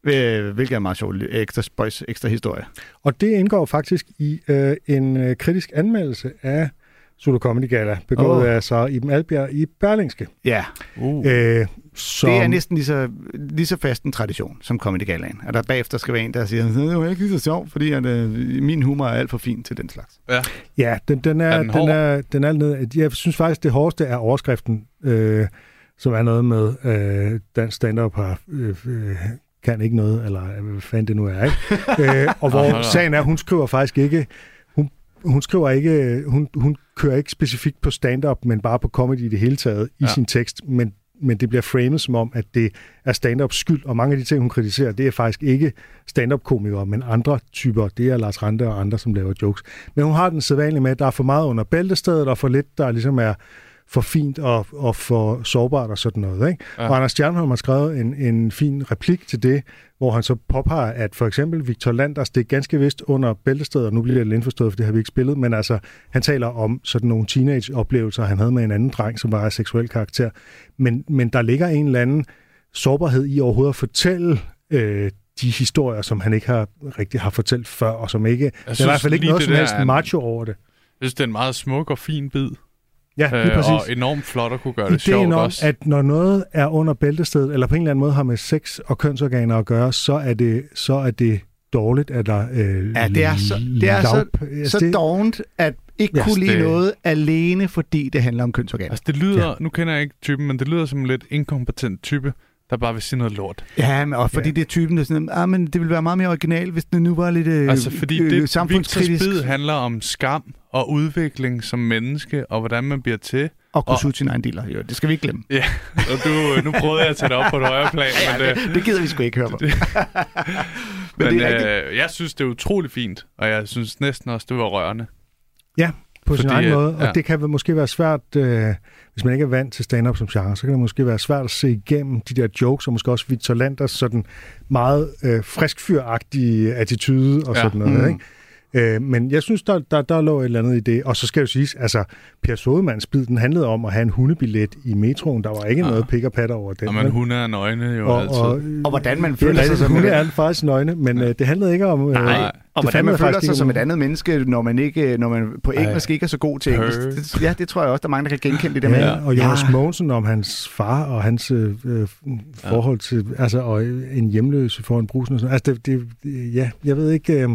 S2: Øh, hvilket er meget sjovt. Ekstra spøjs, ekstra historie.
S3: Og det indgår faktisk i øh, en øh, kritisk anmeldelse af Solo Comedy Gala, begået
S2: Åh.
S3: oh. af Sara Iben Albjerg i Berlingske.
S2: Ja,
S4: Uh.
S3: Øh, som,
S2: det er næsten lige så, lige så fast en tradition som Comedy Galaen. At der bagefter skal være en, der siger, det var ikke lige så sjovt, fordi at, øh, min humor er alt for fin til den slags.
S4: Ja.
S3: Ja, den, den, er,
S4: Er den
S3: den,
S4: hård?
S3: den, er, den er ned. Jeg synes faktisk, det hårdeste er overskriften, øh, som er noget med, øh, dansk stand-up har, øh, øh, kan ikke noget, eller øh, hvad fanden det nu er.
S4: *laughs*
S3: Ikke? øh, og
S4: Nå, nå,
S3: hvor
S4: nå.
S3: sagen er, hun skriver faktisk ikke, hun, hun skriver ikke, hun, hun kører ikke specifikt på stand-up, men bare på comedy i det hele taget i
S4: Ja.
S3: ja. sin tekst, men men det bliver framet som om, at det er stand-up skyld, og mange af de ting, hun kritiserer, det er faktisk ikke stand-up-komikere, men andre typer. Det er Lars Rante og andre, som laver jokes. Men hun har den sædvanlige med, at der er for meget under bæltestedet, og for lidt, der ligesom er for fint og, og for sårbart og sådan noget. Ikke?
S4: Ja.
S3: Ja. Og Anders Stjernholm har skrevet en, en fin replik til det, hvor han så påpeger, at for eksempel Victor Landers, det er ganske vist under bæltestedet, og nu bliver det lidt indforstået, for det har vi ikke spillet, men altså, han taler om sådan nogle teenage-oplevelser, han havde med en anden dreng, som var af seksuel karakter. Men, men der ligger en eller anden sårbarhed i overhovedet at fortælle øh, de historier, som han ikke har rigtig har fortalt før, og som ikke... Der er i
S4: synes
S3: hvert fald ikke
S4: lige,
S3: noget
S4: det
S3: som
S4: der
S3: helst
S4: er en-
S3: macho over det.
S4: Jeg synes, det er en meget smuk og fin bid.
S3: Ja, lige
S4: Øh,
S3: præcis.
S4: og enormt flot at kunne gøre det
S3: Ideen
S4: sjovt
S3: om,
S4: også.
S3: at når noget er under bæltestedet, eller på en eller anden måde har med sex og kønsorganer at gøre, så er det, så er det dårligt, at der øh,
S2: Ja, det er så- det er så-
S3: lavp-
S2: Så
S3: det-
S2: dovent at ikke
S3: Ja,
S2: kunne lide
S4: det-
S2: noget alene, fordi det handler om kønsorganer.
S4: Altså, det lyder, ja. nu kender jeg ikke typen, men det lyder som en lidt inkompetent type, der bare vil sige noget lort.
S2: Ja, men, og fordi
S3: Ja.
S2: det er typen, der er sådan, ah, men det ville være meget mere original, hvis det nu var lidt øh,
S4: altså, fordi
S2: øh,
S4: det, Victor's
S2: samfundskritisk.
S4: bid handler om skam og udvikling som menneske, og hvordan man bliver til.
S2: Og kunne
S4: Og-
S2: suge sin egen dealer. Jo, det skal vi ikke glemme.
S4: Ja, og du, øh, nu prøvede jeg at tage det op på et højere
S2: *laughs*
S4: plan, men, øh,
S2: Det gider vi sgu ikke høre på.
S4: men,
S2: det er
S4: øh, jeg synes, det er utrolig fint, og jeg synes næsten også, det var rørende.
S3: Ja, på sin
S4: Fordi,
S3: egen
S4: øh,
S3: måde. Og
S4: ja.
S3: det kan vel måske være svært, øh, hvis man ikke er vant til stand-up som genre, så kan det måske være svært at se igennem de der jokes, og måske også Victor Landers sådan meget øh, friskfyragtige attitude og
S4: Ja.
S3: ja. sådan noget. Mm. Ikke? Øh, men jeg synes, der, der, der lå et eller andet i det. Og så skal jo siges, altså Per Sodemanns bid, den handlede om at have en hundebillet i metroen. Der var ikke ja. noget pik og pat over den.
S4: Og man
S3: vel?
S4: Ah. hunde er nøgne jo
S3: og,
S4: altid.
S3: og,
S2: Og hvordan man
S3: det er
S2: føler sig
S3: rigtigt,
S2: som
S3: hunde
S2: et-
S3: er faktisk nøgne, men øh, det handlede ikke om... Øh,
S4: Nej.
S3: det
S2: Og hvordan
S3: handlede
S2: man føler
S3: faktisk
S2: sig
S3: ikke
S2: som
S3: om-
S2: et andet menneske, når man, ikke, når man på engelsk ikke er så god til engelsk. Det, ja, det tror jeg også, der er mange, der kan genkende det der
S3: Ja,
S2: med.
S3: og Jonas
S2: Ja.
S3: ja. Mogensen om hans far og hans øh, øh, forhold til, altså, og øh, en hjemløse foran brusen og sådan Altså, det, det, øh, ja, jeg ved ikke, øh,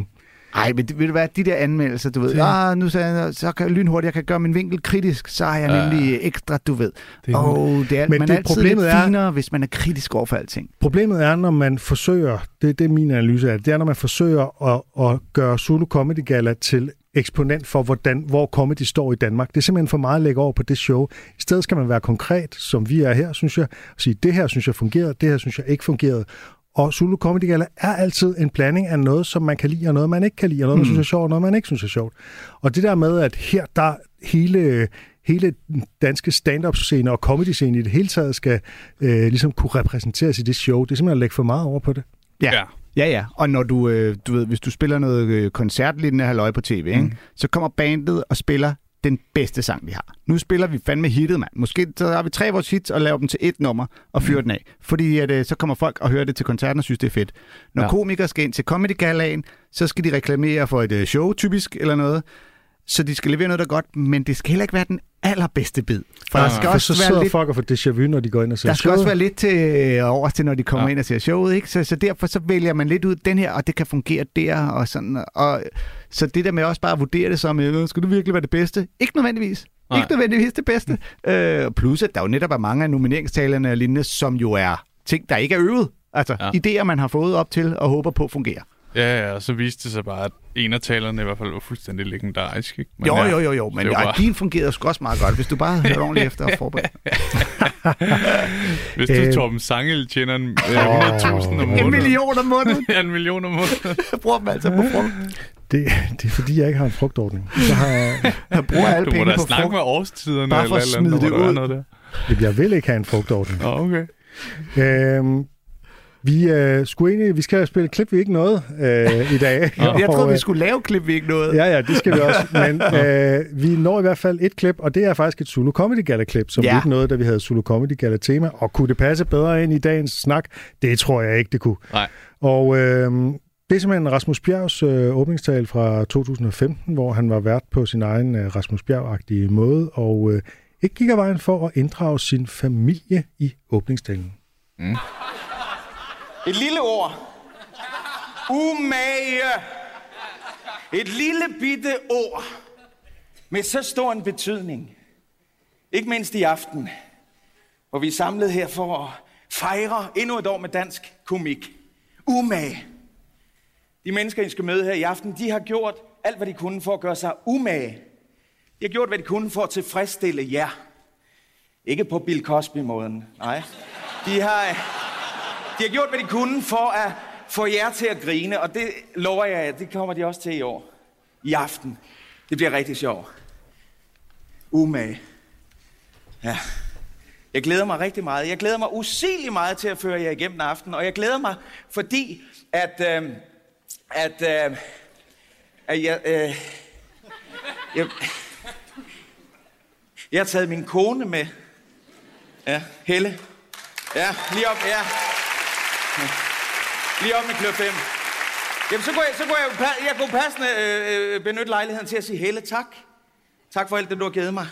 S2: Ej, men det, ved du hvad, de der anmeldelser, du ved, ja. ah, nu så, jeg, så kan jeg lynhurtigt, jeg kan gøre min vinkel kritisk, så er jeg
S4: Ja.
S2: nemlig ekstra, du ved.
S4: Det er-
S2: Åh, oh, det er,
S3: Men
S2: man
S3: det-
S2: er altid
S3: problemet
S2: lidt
S3: er-
S2: finere, hvis man er kritisk over for alting.
S3: problemet er, når man forsøger, det, det er min analyse af det, det er, når man forsøger at, at gøre Zulu Comedy Gala til eksponent for, hvordan, hvor comedy står i Danmark. Det er simpelthen for meget at lægge over på det show. I stedet skal man være konkret, som vi er her, synes jeg, og sige, det her synes jeg fungerede, det her synes jeg ikke fungerede. Og Zulu Comedy Gala er altid en blanding af noget, som man kan lide, og noget, man ikke kan lide, og
S2: Mm.
S3: noget, man synes er sjovt, og noget, man ikke synes er sjovt. Og det der med, at her der hele, hele den danske stand-up-scene og comedy-scene i det hele taget skal øh, ligesom kunne repræsenteres i det show, det er simpelthen at lægge for meget over på det.
S2: Ja.
S4: Ja.
S2: Ja, ja. Og når du, øh, du ved, hvis du spiller noget øh, koncertlignende halløj på tv, ikke? så kommer bandet og spiller den bedste sang, vi har. Nu spiller vi fandme hittet, mand. Måske så har vi tre af vores hits og laver dem til et nummer og fyrer den af. Fordi at, øh, så kommer folk og hører det til koncerten og synes, det er fedt. Når ja.
S4: Ja.
S2: komikere skal ind til Comedy Galaen, så skal de reklamere for et øh, show, typisk, eller noget. Så de skal levere noget, der er godt, men det skal heller ikke være den allerbedste bid. For der
S4: Nej,
S2: skal
S4: nej.
S3: For så
S2: også være
S3: sidder
S2: lidt
S3: folk og får déjà vu, når de går ind og ser
S2: der skal også
S3: showet.
S2: være lidt til over til, når de kommer ja.
S4: Ja.
S2: ind og ser showet, ikke? Så, så derfor så vælger man lidt ud den her, og det kan fungere der, og sådan. Og, så det der med også bare at vurdere det som, øh, skulle det virkelig være det bedste? Ikke nødvendigvis. Nej.
S4: Nej.
S2: Ikke nødvendigvis det bedste. Øh, plus, at der jo netop er mange af nomineringstalerne og lignende, som jo er ting, der ikke er øvet. Altså, ja.
S4: Ja.
S2: idéer, man har fået op til og håber på fungerer.
S4: Ja, ja, og så viste det sig bare, at en af talerne i hvert fald var fuldstændig legendarisk. Ikke?
S2: jo,
S4: ja,
S2: jo, jo, jo, men
S4: det var
S2: ja,
S4: bare-
S2: din fungerede sgu også meget godt, hvis du bare hørte ordentligt efter og forberedte.
S4: Hvis du
S3: Øh.
S4: Torben Sangel tjener en, øh, 100.000 om
S3: En
S2: En
S4: måneden.
S2: million om måneden
S4: Ja, en million om måneden.
S2: bruger man altså på frugt.
S3: Det, det er fordi, jeg ikke har en frugtordning. Så har
S2: *laughs*
S3: jeg,
S2: Man bruger alle
S4: Du må
S2: penge
S4: da
S2: på
S4: snakke
S2: frugt.
S4: med årstiderne.
S2: Bare for at
S4: eller et eller andet,
S2: smide
S4: hvor
S2: det
S4: der er Noget der.
S3: Jamen, jeg vil ikke have en frugtordning.
S4: Nå, okay.
S3: Øhm, vi, øh, skulle egentlig, vi skal spille klip, vi ikke noget øh, i dag.
S2: Jeg
S3: Og,
S2: troede, vi
S3: øh,
S2: skulle lave klip, vi ikke nåede.
S3: Ja, ja, det skal vi også. Men øh, vi når i hvert fald et klip, og det er faktisk et Zulu Comedy Gala-klip, som
S2: Ja.
S3: ja. ikke nåede, da vi havde Zulu Comedy Gala-tema. Og kunne det passe bedre ind i dagens snak? Det tror jeg ikke, det kunne.
S4: Nej.
S3: Og øh, det er simpelthen Rasmus Bjergs øh, åbningstal fra 2015, hvor han var vært på sin egen øh, Rasmus Bjerg-agtige måde, og øh, ikke gik af vejen for at inddrage sin familie i åbningstalen.
S6: Et lille ord. Umage. Et lille bitte ord med så stor en betydning. Ikke mindst i aften, hvor vi er samlet her for at fejre endnu et år med dansk komik. Umage. De mennesker, I skal møde her i aften, de har gjort alt, hvad de kunne for at gøre sig umage. De har gjort, hvad de kunne for at tilfredsstille jer. Ikke på Bill Cosby-måden, nej. De har... De har gjort, hvad de kunne for at få jer til at grine, og det lover jeg jer, det kommer de også til i år. I aften. Det bliver rigtig sjovt. Umage. Ja. Jeg glæder mig rigtig meget. Jeg glæder mig usigelig meget til at føre jer igennem aftenen, og jeg glæder mig, fordi at... Øh, at, øh, at jeg, øh, jeg, jeg har taget min kone med. Ja, Helle. Ja, lige op, ja. Lige op med klø 5. Jamen, så kunne jeg, så kunne jeg, jo pa- jeg kunne passende øh, øh, benytte lejligheden til at sige Helle tak. Tak for alt det, du har givet mig.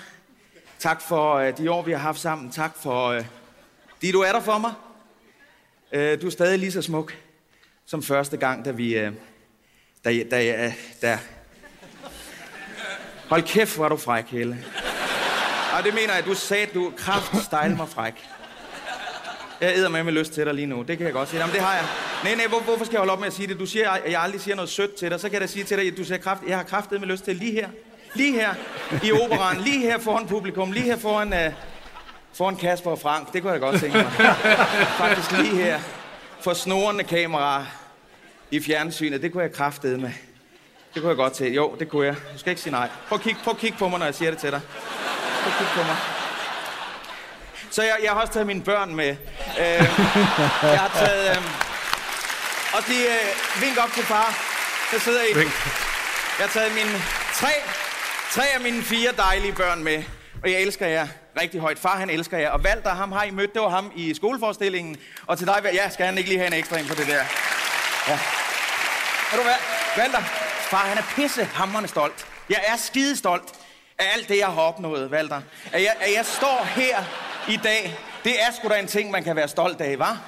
S6: Tak for øh, de år, vi har haft sammen. Tak for, øh, de du er der for mig. Øh, du er stadig lige så smuk som første gang, da vi... Øh, da, jeg- da, jeg- da, Hold kæft, hvor er du fræk, Helle. Og det mener jeg, du sagde, du kraft stejle mig fræk. Jeg æder med med lyst til dig lige nu. Det kan jeg godt sige. Jamen, det har jeg. Nej, nej, hvor, hvorfor skal jeg holde op med at sige det? Du siger, at jeg aldrig siger noget sødt til dig. Så kan jeg da sige til dig, at du siger kraft. Jeg har kraftet med lyst til lige her. Lige her i operan, lige her foran publikum, lige her foran, uh, foran Kasper og Frank. Det kunne jeg godt tænke mig. Faktisk lige her for snorende kameraer i fjernsynet. Det kunne jeg kraftede med. Det kunne jeg godt til. Jo, det kunne jeg. Du skal ikke sige nej. Prøv at kigge, prøv at kigge på mig, når jeg siger det til dig. Prøv at kigge på mig. Så jeg, jeg har også taget mine børn med. Øh, jeg har taget... Øh, og de øh, vink op til far. Der sidder I. Vink. Jeg har taget mine tre, tre af mine fire dejlige børn med. Og jeg elsker jer rigtig højt. Far, han elsker jer. Og Valter, ham har I mødt. Det var ham i skoleforestillingen. Og til dig, Val- ja, skal han ikke lige have en ekstra en for det der? Ja. Ved du hvad? Valter, far, han er pissehammerende stolt. Jeg er skide stolt af alt det, jeg har opnået, Valter. At jeg, at jeg står her i dag, det er sgu da en ting, man kan være stolt af, var?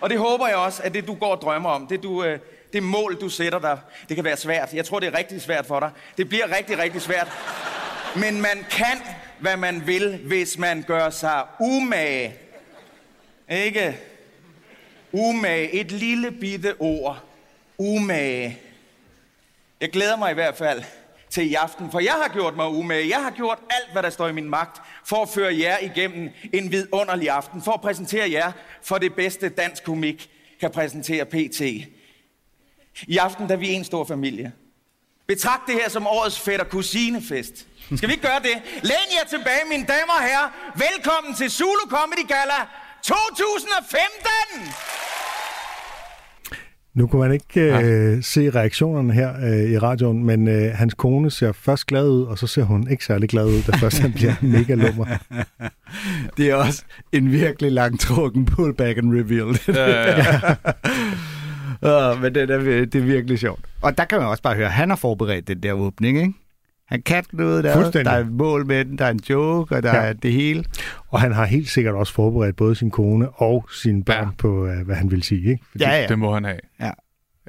S6: Og det håber jeg også, at det, du går og drømmer om, det, du, øh, det mål, du sætter dig, det kan være svært. Jeg tror, det er rigtig svært for dig. Det bliver rigtig, rigtig svært. Men man kan, hvad man vil, hvis man gør sig umage. Ikke? Umage. Et lille bitte ord. Umage. Jeg glæder mig i hvert fald til i aften, for jeg har gjort mig umage. Jeg har gjort alt, hvad der står i min magt, for at føre jer igennem en vidunderlig aften, for at præsentere jer for det bedste dansk komik kan præsentere PT. I aften der er vi en stor familie. Betragt det her som årets fætter kusinefest. Skal vi ikke gøre det? Læn jer tilbage, mine damer og herrer. Velkommen til Zulu Comedy Gala 2015!
S3: Nu kunne man ikke øh, se reaktionerne her øh, i radioen, men øh, hans kone ser først glad ud, og så ser hun ikke særlig glad ud, da *laughs* først han bliver mega lummer.
S2: Det er også en virkelig langtrukken pullback and reveal. *laughs* ja. uh, men det er, det er virkelig sjovt. Og der kan man også bare høre, han har forberedt den der åbning, ikke? Han kan noget der.
S3: Fuldstændig.
S2: Der er et mål med den, der er en joke, og der
S3: Ja.
S2: ja. er det hele.
S3: Og han har helt sikkert også forberedt både sin kone og sine børn ja.
S4: Ja.
S3: på, øh, hvad han vil sige. *laughs* Ikke? Fordi,
S2: Ja, ja.
S4: Det må han have.
S2: Ja.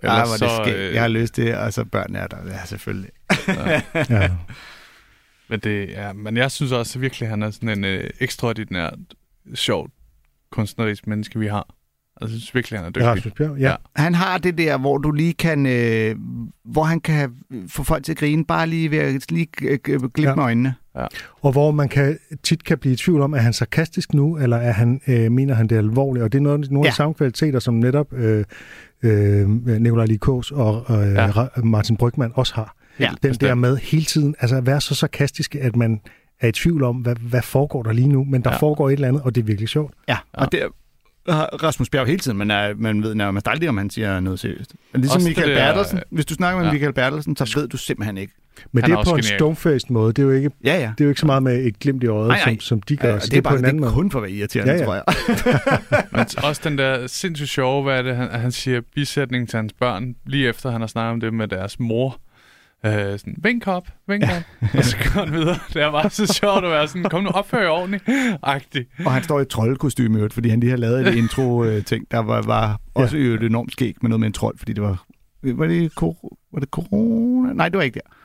S4: Ellers
S2: Ej, hvor er det
S4: så,
S2: skægt.
S4: øh,
S2: Jeg har lyst til, og så børnene er der, ja, selvfølgelig.
S3: ja.
S4: Men, det, ja, men jeg synes også virkelig, at han er sådan en øh, ekstraordinær, sjov, kunstnerisk menneske, vi har. Altså, Jeg synes virkelig, han er dygtig.
S3: Rasmus Bjerg, ja.
S4: Ja.
S2: Han har det der, hvor du lige kan, øh, hvor han kan få folk til at grine, bare lige ved at lige øh, glippe
S3: Ja.
S2: ja. med øjnene.
S3: Og hvor man kan, tit kan blive i tvivl om, er han sarkastisk nu, eller er han, øh, mener han det alvorligt? Og det er noget, nogle ja. af
S2: Ja.
S3: de samme kvaliteter, som netop øh, øh, Nikolaj Likås og øh,
S4: Ja.
S3: ja. Martin Brygman også har.
S2: Ja,
S3: Den der
S4: bestemt.
S3: med hele tiden, altså at være så sarkastisk, at man er i tvivl om, hvad, hvad foregår der lige nu, men der ja.
S4: Ja.
S3: foregår et eller andet, og det er virkelig sjovt.
S2: Ja, og det har Rasmus Bjerg hele tiden, men er, man ved nærmest aldrig, om han siger noget seriøst.
S4: Også
S2: Ligesom Også
S4: det
S2: Michael
S4: der-
S2: Bertelsen. Hvis du snakker med ja.
S4: Ja.
S2: Michael Bertelsen, så ved du simpelthen ikke.
S3: Men
S4: Han
S3: det
S4: er
S3: er
S4: også
S3: på en
S4: genial.
S3: stone-faced måde. Det er jo ikke,
S2: Ja, ja.
S3: det er jo ikke så meget med et glimt i øjet,
S2: Nej, nej.
S3: Som, som de gør.
S2: Ja,
S3: Ja,
S2: og
S3: så
S2: det er, bare,
S3: på en
S2: det
S3: anden
S2: er
S3: måde.
S2: kun for at være irriterende,
S3: Ja, ja.
S2: tror jeg. *laughs*
S4: Men også den der sindssygt sjove, hvad er det, han, han siger bisætning til hans børn, lige efter han har snakket om det med deres mor. Øh, sådan, vink op, vink op. Og så går han videre. Det er bare så sjovt at være sådan, kom nu, opfør jer ordentligt. Agtig.
S2: Og han står i et troldkostyme, i øvrigt, fordi han lige har lavet et intro-ting, der var, var også ja. et enormt skæg med noget med en trold, fordi det var... Var det, kor- var det corona? Nej, det var ikke der.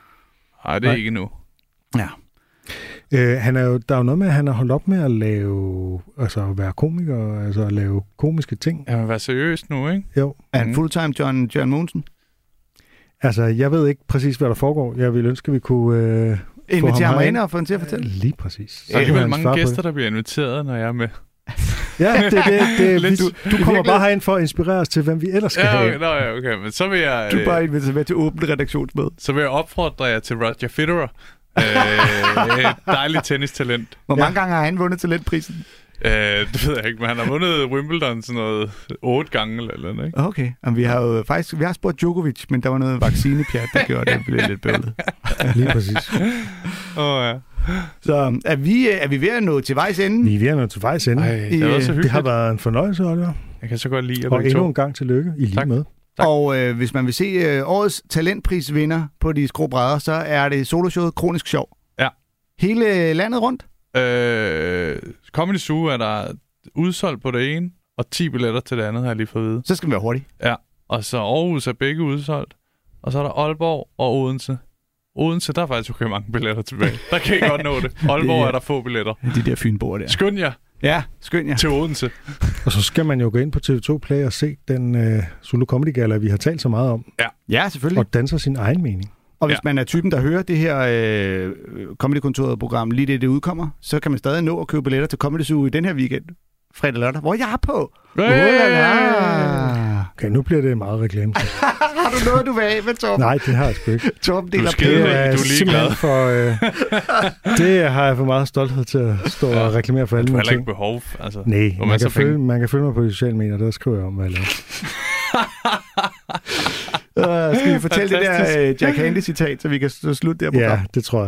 S4: Nej, det er
S3: Nej.
S4: ikke nu.
S2: Ja.
S3: Øh, han er jo, der er jo noget med, at han har holdt op med at lave, altså at være komiker, altså at lave komiske ting.
S4: Jamen, vær seriøs nu, ikke?
S3: Jo,
S2: Er han
S4: Mhm.
S2: fulltime John, John Monsen?
S3: altså jeg ved ikke præcis, hvad der foregår. Jeg ville ønske, at vi kunne... Øh,
S2: Inviterer
S3: ham
S2: ham
S3: herind.
S2: ind og får ham til at fortælle.
S3: lige præcis.
S4: Der
S3: Kunne
S4: er
S3: han
S4: alligevel
S3: svare på
S4: mange
S3: det?
S4: gæster, der bliver inviteret, når jeg er med.
S3: Ja, det, det, det,
S4: *laughs* Lidt-
S3: det du, du kommer
S4: virkelig-
S3: bare herind for at inspirere os til, hvem vi ellers skal
S4: Ja,
S3: have.
S4: okay, *laughs* nå, ja, okay. Men så vil jeg...
S2: Du
S4: øh,
S2: er bare inviteret med til åbent redaktionsmøde.
S4: så vil jeg opfordre jer til Roger Federer. øh, et dejligt tennistalent.
S2: Hvor mange gange har han vundet talentprisen?
S4: Øh, det ved jeg ikke, men han har vundet Wimbledon sådan noget otte gange eller eller andet, ikke?
S2: Okay, Jamen, vi har jo faktisk vi har spurgt Djokovic, men der var noget vaccinepjat, der gjorde, at det blev lidt bøvlet.
S3: Lige præcis.
S4: Åh, oh, ja.
S2: Så er vi, øh, er vi ved at nå til vejs ende?
S3: Vi er ved at nå til vejs ende.
S4: Ej, det har været
S3: Det
S4: så
S3: har
S4: hyggeligt.
S3: været en fornøjelse, Oliver.
S4: Jeg kan så godt lide, at
S3: Og
S4: begge
S3: endnu en
S4: to...
S3: gang tillykke. I lige
S4: Tak.
S3: med.
S4: Tak.
S2: Og øh, hvis man vil se øh, årets talentprisvinder på de skrå brædder, så er det soloshowet Kronisk Sjov.
S4: Ja.
S2: Hele landet rundt?
S4: Øh, Comedy Zoo er der udsolgt på det ene, og 10 billetter til det andet, har jeg lige fået at vide.
S2: Så skal man være hurtig.
S4: Ja, og så Aarhus er begge udsolgt. Og så er der Aalborg og Odense. Odense, der er faktisk okay mange billetter tilbage. Der kan I godt nå
S3: *laughs*
S4: det. Aalborg
S2: Det-
S4: er der få billetter.
S2: De der fynboer der.
S4: Skynd jer
S2: Ja, skynd jer.
S4: til Odense.
S3: Og så skal man jo gå ind på TV2 Play og se den øh, Zulu Comedy Gala, vi har talt så meget om,
S2: Ja, selvfølgelig.
S3: og danse sin egen mening.
S2: Og, Og hvis
S4: Ja.
S2: ja. man er typen, der hører det her øh, Comedy-kontoret program lige det, det udkommer, så kan man stadig nå at købe billetter til Comedy Zoo i den her weekend, fredag og lørdag, hvor jeg er på.
S4: Hey!
S3: Okay, nu bliver det meget reklame.
S2: Har du noget, du vil af med, Torben?
S3: Nej, det har jeg sgu ikke.
S2: Torben
S4: Du
S2: deler
S4: skal-
S2: penge.
S4: du er ligeglad.
S3: simpelthen for... Øh,
S4: *laughs*
S3: det har jeg for meget stolthed til at stå og reklamere for alle
S4: Du har
S3: mine
S4: heller ikke
S3: ting.
S4: behov. Altså,
S3: Nej,
S4: hvor
S3: man,
S4: man, så
S3: kan
S4: fik,
S3: følge, man kan følge mig på de sociale medier, der skriver jeg om, hvad jeg
S4: *laughs*
S3: laver.
S2: Øh, skal vi fortælle det
S4: Fantastisk.
S2: der øh, Jack Handy-citat, så vi kan s- slutte det her program?
S3: Ja, det tror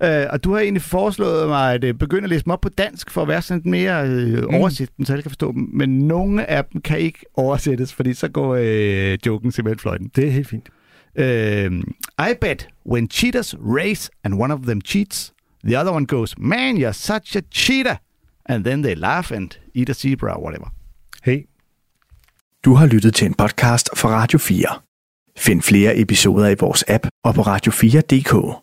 S3: jeg.
S2: Øh, og du har egentlig foreslået mig at øh, begynde at læse dem op på dansk, for at være sådan lidt mere øh,
S4: Mm.
S2: oversigt, så alle kan forstå dem. Men nogle af dem kan ikke oversættes, fordi så går øh, joken simpelthen fløjten.
S3: Det er helt fint.
S2: Øh, I bet when cheaters race and one of them cheats, the other one goes, man, you're such a cheater. And then they laugh and eat a zebra or whatever.
S3: Hey,
S1: Du har lyttet til en podcast fra Radio 4. Find flere episoder i vores app og på radio4.dk.